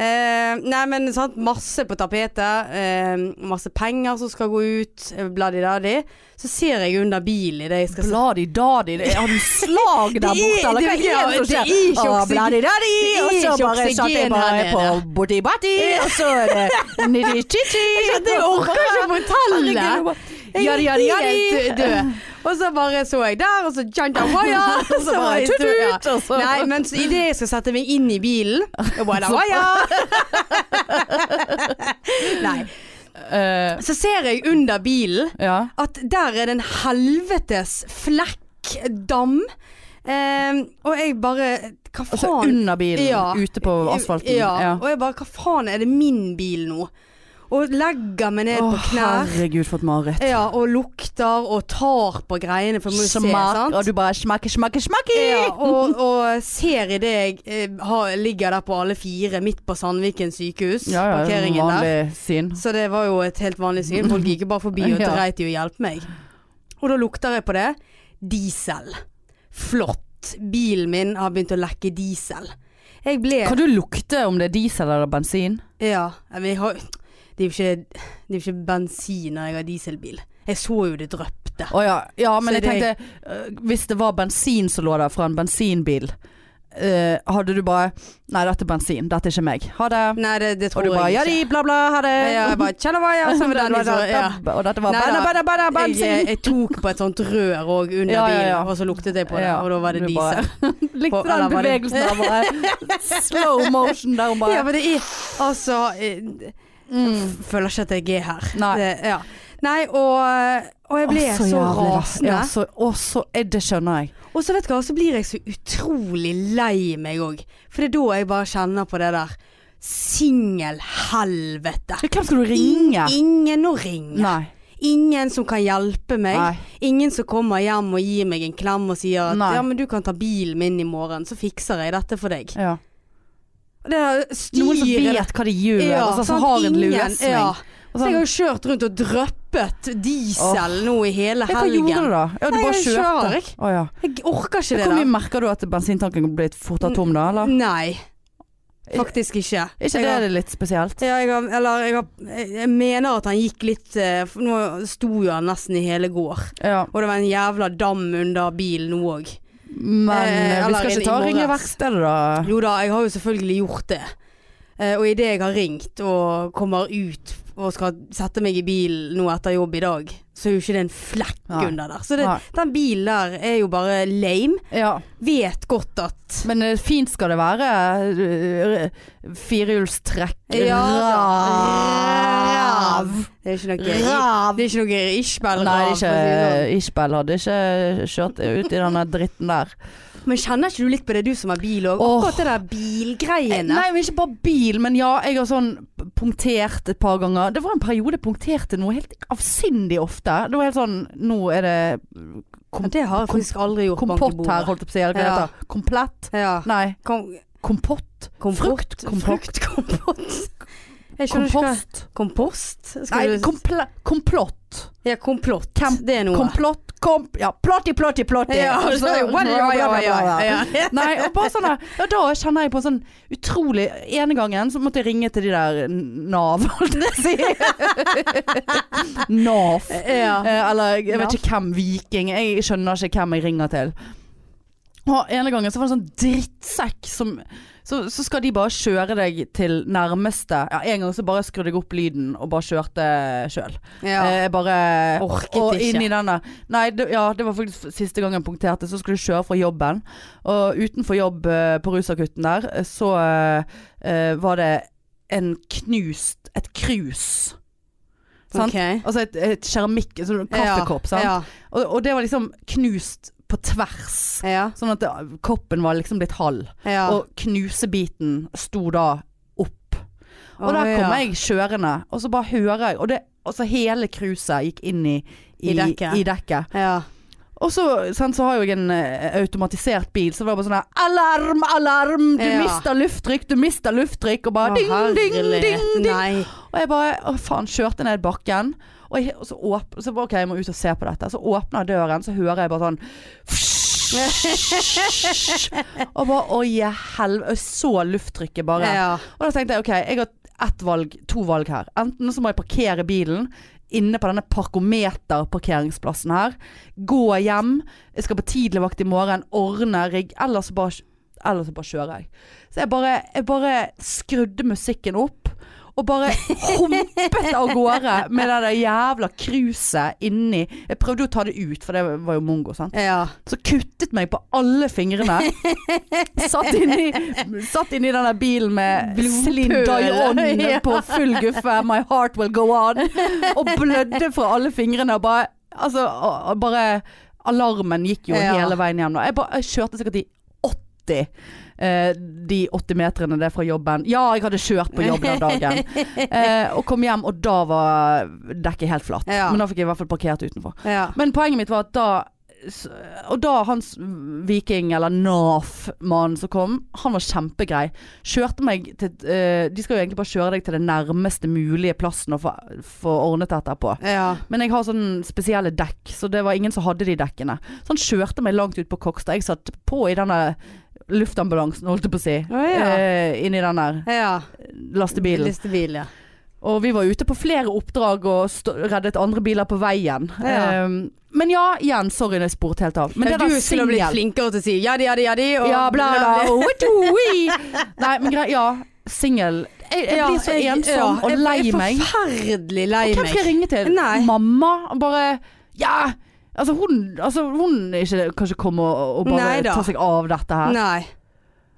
Eh, nei, men sant, masse på tapetet. eh, masse penger som skal gå ut. eh, Bladidadi. Så ser jeg under bilen idet jeg skal
Bladi dadi, det- *laughs* har du slag der
Det er-
borte, eller hva
det- ja,
er det som
det er
skjer?
ikke oksygen-
Å, bladi dadi,
det er
og så
ikke
bare satt jeg
oksygen
bare
her
på
nede.
boti bati, og så er det *laughs* nidi titi.
Jeg orker ikke å fortelle!
Ja, ja, ja,
Jeg er helt død. Og så bare så jeg der, og så janta
*laughs*
waya! *laughs*
Og så bare tut ut, og så
Nei, men så idet jeg skal sette meg inn i bilen *laughs* Wada waya! Nei.
*laughs* Eh,
Så ser jeg under bilen
Ja.
at der er det en helvetes flekk dam. Eh, og jeg bare Hva
Og så
faen?
Altså, under bilen,
Ja.
ute på asfalten.
Ja.
Ja.
Og jeg bare Hva faen, er det min bil nå? Og legger meg ned
Å,
på knær.
herregud, for et mareritt.
Ja, og lukter og tar på greiene, for du må jo se,
Smak,
sant?
og Eh, du bare smakke, smakke, smakke.
Ja, og, og ser idet jeg eh, har, ligger der på alle fire, midt på Sandviken sykehus,
Ja, ja,
parkeringen der.
vanlig syn.
Så det var jo et helt vanlig syn. Folk gikk jo bare forbi
*laughs*
og
Ja.
dreit i å hjelpe meg. Og da lukter jeg på det. Diesel. Flott. Bilen min har begynt å lekke diesel. Jeg ble
Kan du lukte om det er diesel eller bensin?
Ja, men jeg har Det er jo ikke, det er jo ikke bensin når jeg har dieselbil. Jeg så jo det drøpte.
Å ja. ja, men
Så
jeg tenkte øh, Hvis det var bensin som lå der fra en bensinbil, øh, hadde du bare Nei, dette er bensin, dette er ikke meg. Ha det.
Nei, det, det
Og
tror
du bare ja
jeg
de,
ikke.
bla bla, ha det.
Ja, jeg bare Tjallavaya!
*laughs*
Så var det den liksom, ja.
Og dette var
Nei,
banna,
da.
banna, banna,
Jeg,
bensin.
jeg tok på et sånt rør òg under
Ja, ja,
bilen,
ja.
og så luktet jeg på det,
Ja,
og da var det
du bare-
diesel. *laughs*
Likte
på- eller
den
var det- *laughs*
bevegelsen der bare. Slow motion der hun
Ja,
bare
men det er altså eh,
Mm.
Føler ikke at jeg er her.
Nei.
Det, ja. Nei, og, og jeg ble
Å,
så,
jævlig, da.
rasende.
Ja, så, å, så, eh, det skjønner jeg.
Og så vet du hva, så blir jeg så utrolig lei meg òg. For det er da jeg bare kjenner på det der singelhelvete.
Hvem skal du ringe?
Ingen å ringe.
Nei.
Ingen som kan hjelpe meg.
Nei.
Ingen som kommer hjem og gir meg en klem og sier at
Nei.
ja, men du kan ta bilen min i morgen, så fikser jeg dette for deg.
Ja.
Og Det er styret
Noen som vet hva de gjør,
Ja,
og så- så
sant?
altså, har en
Ingen-
løsning.
Ja.
Og
Så
sånn,
jeg har jo kjørt rundt og drøppet diesel nå i hele
ja, hva
helgen.
gjorde du da? Ja, du
Nei,
bare
jeg kjører,
kjørte.
jeg.
Å, ja.
Jeg orker ikke det
Hvor mye
der.
merker du at bensintanken er blitt fortere tom da, eller?
Nei, faktisk ikke.
Er ikke
Jeg
det
har-
litt spesielt?
Ja, jeg, har, eller, jeg, har, jeg mener at han gikk litt eh, for Nå sto jo han nesten i hele går.
Ja.
Og det var en jævla dam under bilen nå òg.
Men
Eh,
eh, vi
eller
skal
inn i
ikke ta og ringe
morges.
verkstedet, da.
Jo da, jeg har jo selvfølgelig gjort det. Eh, Og idet jeg har ringt og kommer ut og skal sette meg i bilen nå etter jobb i dag, så er jo ikke det en flekk
Nei.
under der. Så det,
Nei.
den bilen der er jo bare lame.
Ja.
Vet godt at
Men eh, fint skal det være. eh, r- Firehjulstrekk.
Ja da.
Rav.
Det er ikke noe
Rav.
Det er ikke noe Ishbel-rav.
Nei,
for å si
ikke,
det sånn.
Ishbel hadde ikke kjørt ut i denne dritten der.
Men kjenner ikke du litt på det, du som har bil òg?
Åh.
Akkurat det der bilgreiene.
Eh, Nei, men ikke bare bil, men ja, jeg har sånn punktert et par ganger. Det var en periode jeg punkterte noe helt avsindig ofte. Det var helt sånn Nå er det kom,
Ja, det har jeg faktisk aldri gjort. bank i
kompott
bordet.
her, holdt jeg på å si. eller Hva
Ja.
heter det? Komplett?
Ja.
Nei,
Kom,
kompott.
kompott.
Frukt, kompott.
Frukt, kompott. Jeg skjønner ikke hva
Kompost.
Kompost? Skal
Nei,
du...
komple, komplott.
ja, komplott.
Kamp-
det er noe.
Komplott, komp... Ja, plotti, plotti, plotti.
ja,
*laughs* Altså,
så, ja, ja, ja, ja, ja.
Nei, og bare
*laughs*
sånn der- ja, Da kjenner jeg på sånn utrolig Ene gangen så måtte jeg ringe til de der Nav, holdt jeg på å si. *laughs* Nav.
Ja.
Eh, Eller jeg
Nav.
vet ikke hvem. Viking. Jeg skjønner ikke hvem jeg ringer til. Og ene gangen så var det en sånn drittsekk som så, så skal de bare kjøre deg til nærmeste Ja, en gang så bare skrudde jeg opp lyden og bare kjørte sjøl.
Ja.
Eh, Jeg bare
Orket
og
ikke.
inn i denne Nei, det, ja, det var faktisk f- siste gang jeg punkterte. Så skulle jeg kjøre fra jobben. Og utenfor jobb eh, på Rusakutten der, eh, så eh, var det en knust Et krus. Sant?
Ok.
Altså et, et keramikk et sånn Kaffekopp, sant.
Ja.
Og, og det var liksom knust på tvers.
Ja.
Sånn at det, koppen var liksom blitt halv.
ja.
Og knusebiten sto da opp. Og
Å,
der kom
ja.
jeg kjørende, og så bare hører jeg Og det, altså hele cruiset gikk inn i,
I dekket.
I dekket.
Ja.
Og så, sant, så har jeg jo en eh, automatisert bil, så det var bare sånn her Alarm, alarm! Du
Ja.
mister lufttrykk, du mister lufttrykk! Og
Å,
bare Ah, ding, ding,
herlighet.
ding, ding!
Nei.
Og jeg bare Å, faen. Kjørte ned bakken. Og, jeg, og så, åp så bare, OK, jeg må ut og se på dette. Så åpner jeg døren, så hører jeg bare sånn *laughs* Og bare Å, i helvete. Jeg så lufttrykket bare.
Ja.
Og da tenkte jeg OK, jeg har ett valg, to valg her. Enten så må jeg parkere bilen inne på denne parkometerparkeringsplassen her. Gå hjem. Jeg skal på tidligvakt i morgen. Ordne rigg. Eller så bare, eller så bare kjører jeg. Så jeg bare, jeg bare skrudde musikken opp. Og bare humpet av gårde med det der jævla cruiset inni. Jeg prøvde jo å ta det ut, for det var jo mongo, sant.
Ja.
Så kuttet meg på alle fingrene. Satt inni, satt inni den der bilen med
Blodpøl.
Celine Dion
*laughs* Ja.
på full guffe. My heart will go on. Og blødde fra alle fingrene. Og bare, altså, og- og bare Alarmen gikk jo
Ja.
hele veien hjem. Da. Jeg, bare, jeg kjørte sikkert i 80. eh, de 80 meterne det er fra jobben. Ja, jeg hadde kjørt på jobb den dagen.
*laughs*
Eh, og kom hjem, og da var dekket helt flatt.
Ja.
Men da fikk jeg i hvert fall parkert utenfor.
Ja.
Men poenget mitt var at da s- Og da hans viking, eller NAF-mannen som kom, han var kjempeggrei. Kjørte meg til eh, De skal jo egentlig bare kjøre deg til den nærmeste mulige plassen å få få ordnet dette på.
Ja.
Men jeg har sånn spesielle dekk, så det var ingen som hadde de dekkene. Så han kjørte meg langt ut på Kokstad. Jeg satt på i denne luftambulansen, holdt jeg på å si.
Å, ja.
eh, inni den der
ja.
lastebilen.
Listebil, ja.
Og vi var ute på flere oppdrag og st reddet andre biler på veien.
Ja.
Ehm, men ja, igjen, sorry når jeg sporet helt av. Men
ja,
det
du
der
skulle blitt
singel
flinkere til å si jadi, jadi, jadi. og-
Ja, bla, bla. *laughs* Oi, oi. Nei, men greit. Ja, singel. Jeg, jeg
Ja,
blir så
jeg-
ensom
ja,
og
jeg-
lei
jeg er
meg.
Forferdelig lei
Og hvem
meg.
skal jeg ringe til?
Nei.
Mamma? Og Bare Ja! Altså, hun, altså, hun er ikke kanskje kommer og, og bare
Nei da.
tar seg av dette her.
Nei.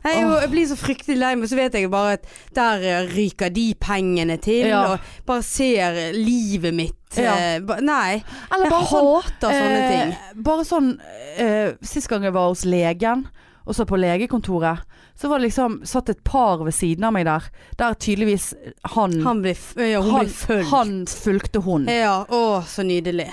Nei, jeg, jeg blir så fryktelig lei meg, så vet jeg bare at der eh, ryker de pengene til,
Ja.
og bare ser livet mitt
Ja.
eh, ba, Nei.
Eller
Jeg
bare sånn
hater sånne ting.
Eh, bare sånn eh, Sist gang jeg var hos legen, og så på legekontoret, så var det liksom satt et par ved siden av meg der. Der tydeligvis han
Han blir, f- ja, hun
han,
blir fulgt. Eh.
han fulgte hun.
Ja, å, så nydelig.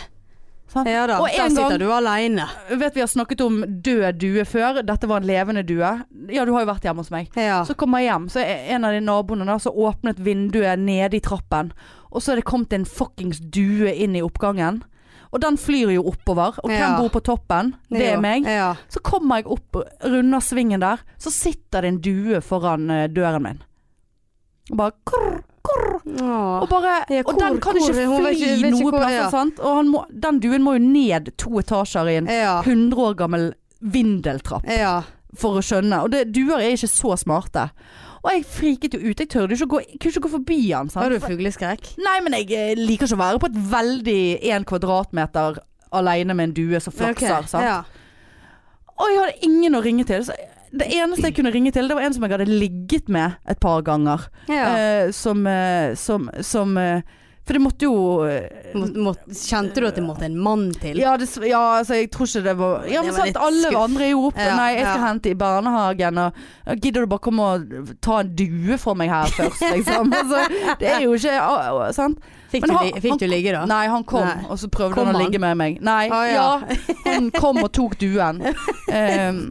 Sant?
Ja da,
Sånn. Og
der
en
sitter
gang-
du aleine.
Vet vi har snakket om død due før. Dette var en levende due. Ja, du har jo vært hjemme hos meg.
Ja.
Så kommer jeg hjem, så er en av de naboene da, så åpnet vinduet nede i trappen. Og så er det kommet en fuckings due inn i oppgangen. Og den flyr jo oppover. Og hvem
Ja.
bor på toppen? Det
Ja,
er meg.
Ja.
Så kommer jeg opp, runder svingen der, så sitter det en due foran eh, døren min. Og bare kurr, kurr.
Åh.
Og, bare,
Ja,
og den
hvor-
kan ikke
hvor- hun vet
fly
ikke- vet ikke
noe
hvor-
plasser,
ja.
sant? Og han må, den duen må jo ned to etasjer i en
Ja.
100 år gammel vindeltrapp
ja.
for å skjønne. Og det, duer er ikke så smarte. Og jeg friket jo ut. Jeg tørde jo ikke å gå, jeg kunne ikke gå forbi han.
Har
Sant?
du fugleskrekk?
Nei, men jeg eh, liker ikke å være på et veldig én kvadratmeter aleine med en due som flakser.
Ok,
Sant?
Ja.
Og jeg hadde ingen å ringe til. Så det eneste jeg kunne ringe til, det var en som jeg hadde ligget med et par ganger.
ja.
Eh, som eh, som, som eh, For det måtte jo eh,
Må, må, kjente du at det måtte en mann til?
ja, det, s- ja, altså jeg tror ikke det var Ja,
Det
men
var
sant,
litt
alle
skuff.
andre er jo oppe.
Ja,
Nei, jeg skal
ja.
hente i barnehagen, og ja, gidder du bare komme og ta en due for meg her først,
*laughs*
liksom? altså, det er jo ikke ah, ah, Sant?
Fikk,
Men
du,
han-
li- fikk du ligge da?
Nei, han kom,
Nei.
og så prøvde
Kom
han å
han?
ligge med meg. Nei,
Ah,
ja.
ja.
Han kom og tok
*laughs*
duen. Um,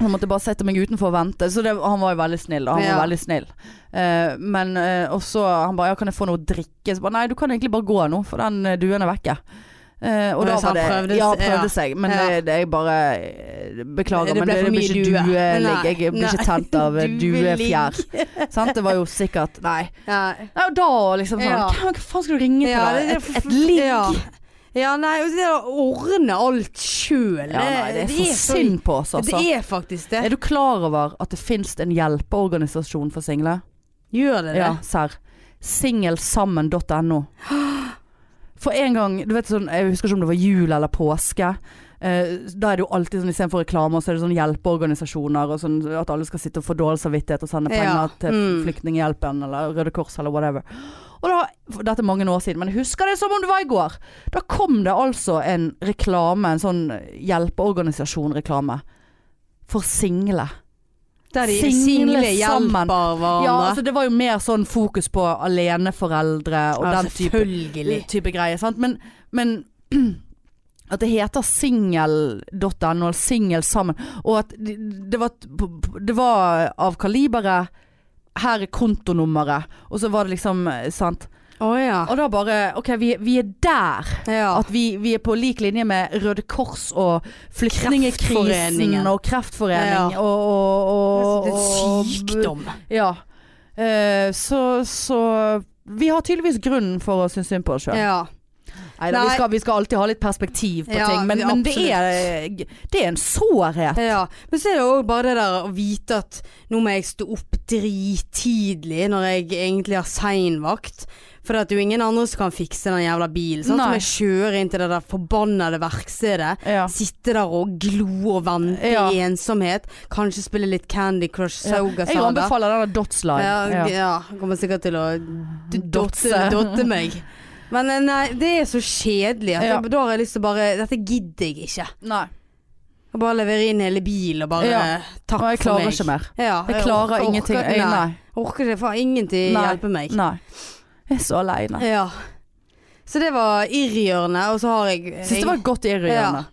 han måtte bare sette meg utenfor og vente. Så det, han var jo veldig snill, da. Han
Ja.
var veldig snill. Eh, men eh, Og så han bare 'Ja, kan jeg få noe å drikke?' Så bare 'Nei, du kan egentlig bare gå nå, for den eh, duen er vekke'. Eh, og
Og
da
så
var
han
det
prøvde-
Ja,
ja.
prøvde seg. Men
Ja.
det, det er bare eh, Beklager,
Det ble
men det,
for
det blir
mye
ikke
due.
due. eh,
Nei.
jeg blir
Nei.
ikke tent
*laughs*
av eh, duefjær.
Dueligg.
Sant? Det var jo sikkert Nei.
Nei.
Nei, Og da liksom sånn
Ja.
Hvem hva faen skal du ringe til?
Ja,
da?
det-
et
det-
et ligg?
Ja. Ja, nei, og det å ordne alt sjøl
Ja, nei, det er for
så-
synd på oss, altså.
Det er faktisk
Er
det.
du klar over at det finnes en hjelpeorganisasjon for single?
Gjør det det?
Ja, serr. Singelsammen.no. For en gang, du vet sånn, jeg husker ikke om det var jul eller påske. eh, da er det jo alltid sånn istedenfor reklamer, så er det sånn hjelpeorganisasjoner og sånn at alle skal sitte og få dårlig samvittighet og sende penger
Ja,
til
mm.
Flyktninghjelpen eller Røde Kors eller whatever. Og da, for Dette er mange år siden, men jeg husker det som om det var i går. Da kom det altså en reklame, en sånn hjelpeorganisasjon-reklame. For single.
Der de
Single
single
sammen.
hjelper hverandre.
Ja, altså det var jo mer sånn fokus på aleneforeldre og
Ja,
den type,
selvfølgelig.
type greier. Sant? Men, men *clears throat* at det heter singel.no, eller singel sammen, og at det, det, var, det var av kaliberet her er kontonummeret, og så var det liksom eh, Sant.
Å ja.
Og da bare OK, vi, vi er der.
ja.
At vi, vi er på lik linje med Røde Kors og flyktningekrisen
Kreftforeningen.
og Kreftforening
Ja.
og, og, og,
det er
og
sykdom.
ja. Eh, så, så vi har tydeligvis grunnen for å synes synd på oss sjøl.
Ja.
Vi,
Nei.
skal- vi skal alltid ha litt perspektiv på
Ja,
ting, men, men det, er,
absolutt.
det er en sårhet.
Ja, men så er det òg bare det der å vite at nå må jeg stå opp drittidlig når jeg egentlig har seinvakt. For det er jo ingen andre som kan fikse den jævla bilen. Sant? Så
Nei.
må jeg kjøre inn til det der forbannede verkstedet.
Ja.
Sitte der og glo og vente
Ja.
i ensomhet. Kanskje spille litt Candy Crush Sauga
Jeg
Saga.
anbefaler denne Dotsline.
Ja,
Ja.
g- ja. Kommer sikkert til å d-
Dotse.
dotte, dotte meg. Men eh, nei, det er så kjedelig at
Ja.
jeg, da har jeg lyst til å bare Dette gidder jeg ikke.
Nei.
Og bare levere inn hele bilen og bare
Ja.
Takk
Og jeg
for meg.
klarer ikke mer.
Ja,
Jeg klarer
orker-
ingenting.
Orker,
Jeg,
nei.
nei.
orker ikke, faen ingenting
Nei.
hjelper meg.
nei. Jeg er så aleine.
Ja. Så det var irrgjørende, og så har jeg
Syns det var godt irriterende.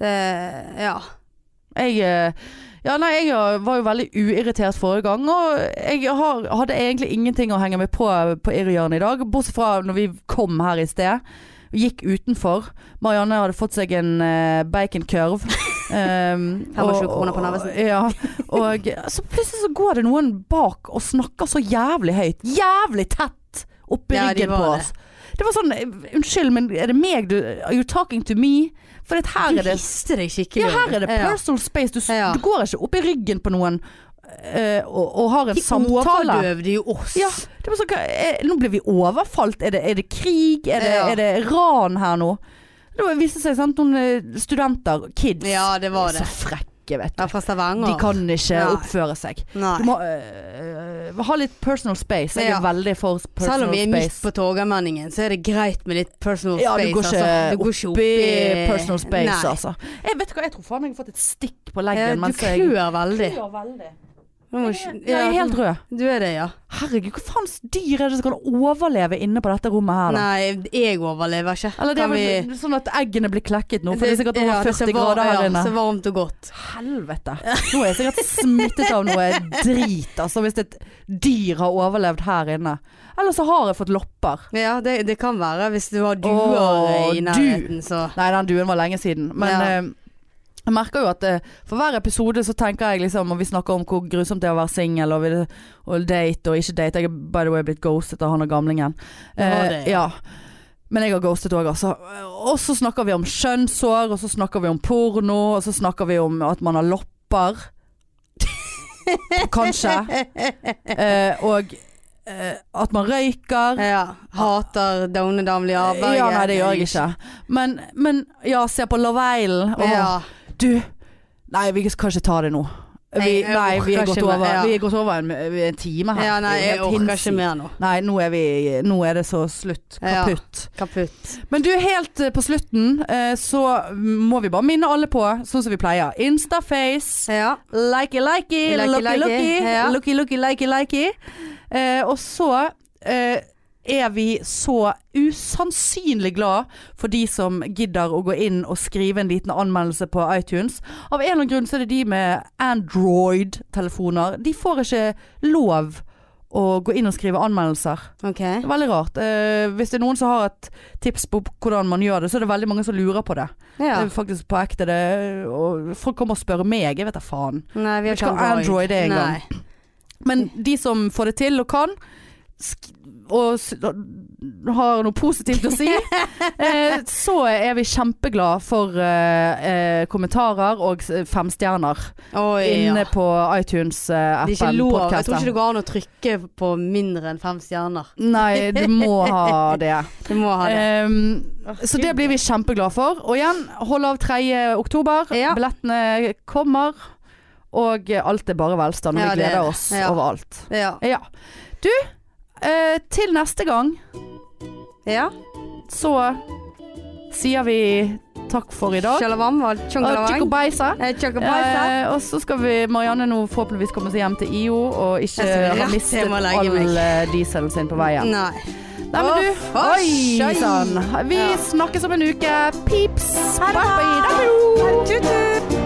Eh, ja.
Jeg eh, ja, nei, jeg eh, var jo veldig uirritert forrige gang, og jeg har, hadde egentlig ingenting å henge meg på eh, på Irjørn i dag, bortsett fra når vi kom her i sted. Gikk utenfor. Marianne hadde fått seg en eh,
*laughs*
baconcurve. Um,
25
og-
kroner på Narvesen.
Ja. Og så plutselig så går det noen bak og snakker så jævlig høyt. Jævlig tett oppi
Ja, de
ryggen på
var det.
oss. Det var sånn eh, Unnskyld, men er det meg du Are you talking to me? For at her
Du
er det
riste deg skikkelig.
ja, her er det
Ja.
personal space. Du, s-
Ja.
du går ikke opp i ryggen på noen eh, og, og har en
De
samtale.
overdøvde jo oss.
Ja, det var sånn, hva- eh, nå blir vi overfalt. Er det, er det krig? Er det,
Ja.
er det ran her nå? Det var- viste seg sant, noen eh, studenter, kids.
Ja, det var det.
Så frekke. ikke, vet du.
Ja, fra Stavanger.
De kan ikke
Nei.
oppføre seg. Du
Nei.
må øh, øh, ha litt personal space. Jeg er
Ja.
veldig for personal
Selv om vi er midt
space.
på Torgallmenningen, så er det greit med litt personal
Ja, du
space.
går ikke
altså. du går ikke
Oppi
oppi-
personal space,
Nei.
altså. Jeg vet du hva, jeg tror faen meg jeg har fått et stikk på
Ja,
leggen
du
mens jeg
klør veldig.
Klør veldig.
Du må
Jeg er,
ikke-
jeg er helt rød.
Du er det, ja.
Herregud, hva faens dyr er det som kan overleve inne på dette rommet her, da?
Nei, jeg overlever ikke.
Eller det er
Kan vi-
vel sånn at eggene blir klekket nå, for det er sikkert
ja,
over
det er så
40
var-
grader her
Ja,
inne.
så varmt og godt.
Helvete. Nå er jeg sikkert smittet av noe drit, altså, hvis et dyr har overlevd her inne. Eller så har jeg fått lopper.
Ja, det, det kan være hvis du har duer
Åh,
i
du.
nærheten, så
Nei, den duen var lenge siden. Men
Ja.
eh, jeg merker jo at eh, for hver episode så tenker jeg liksom Og vi snakker om hvor grusomt det er å være singel og, vil- og date og ikke date. Jeg er by the way blitt ghostet av han og gamlingen. Eh,
Det var det,
ja. Men jeg har ghostet òg, altså. Og så snakker vi om skjønnsår, og så snakker vi om porno, og så snakker vi om at man har
*laughs*
lopper. Kanskje. Eh, og eh, at man røyker.
Ja. Hater Daune Damli Aberge.
Ja, nei, det gjør jeg ikke. Men, men ja, se på Love Island. Åh,
Ja.
Du Nei, vi kan ikke ta det nå. Vi,
Nei, jeg
nei, vi
orker
er gått
ikke mer,
over,
ja.
vi er gått over en, en time her.
ja, nei,
Det er jo
jeg
helt
orker
hinsides.
ikke mer nå.
Nei, nå er, vi, nå er det så slutt.
Ja.
Kaputt.
Kaputt.
Men du, helt eh, på slutten eh, så må vi bare minne alle på, sånn som vi pleier, Instaface.
Ja.
Likey, likey,
Likey,
looky,
likey,
looky.
ja.
Looky, looky, likey, likey. Eh, og så eh, er vi så usannsynlig glad for de som gidder å gå inn og skrive en liten anmeldelse på iTunes. Av en eller annen grunn så er det de med Android-telefoner. De får ikke lov å gå inn og skrive anmeldelser.
OK.
Det er veldig rart. Eh, hvis det er noen som har et tips på hvordan man gjør det, så er det veldig mange som lurer på det. Det
Ja.
er faktisk på ekte det. Og folk kommer og spør meg, jeg vet da faen.
Nei, vi
Vet
har
ikke
ikke
hva Android er engang.
Nei.
Men de som får det til og kan, sk og s har noe positivt å si,
*laughs*
eh, så er vi kjempeglad for eh, eh, kommentarer og s- femstjerner
Oi, ja.
inne på eh,
Det er ikke
iTunes-appen.
lov. Jeg tror ikke det går an å trykke på mindre enn fem stjerner.
Nei, du må ha det.
Du må *laughs* ha det.
Ehm, så det blir vi kjempeglade for. Og igjen, hold av 3. oktober.
Ja.
Billettene kommer. Og alt er bare velstand. Og
Ja,
vi
det er
gleder
det.
oss
Ja.
over alt.
Ja.
Ja. Du, eh, til neste gang
ja.
så sier vi takk for i dag.
Shalawam var
Og
chongalawang.
tjukkobeisa.
Eh, Chocobaisa.
Eh, og så skal vi Marianne nå forhåpentligvis komme seg hjem til IO og ikke
Jeg skal
ha
rett
mistet
hjem og legge
all
meg.
eh, dieselen sin på veien.
Nei.
Nei, men du,
Å,
oi
skjøy.
sann. Vi
Ja.
snakkes om en uke. Pips.
Ha det
Bye
bra.
bye. Da, bro.
Tut-tut.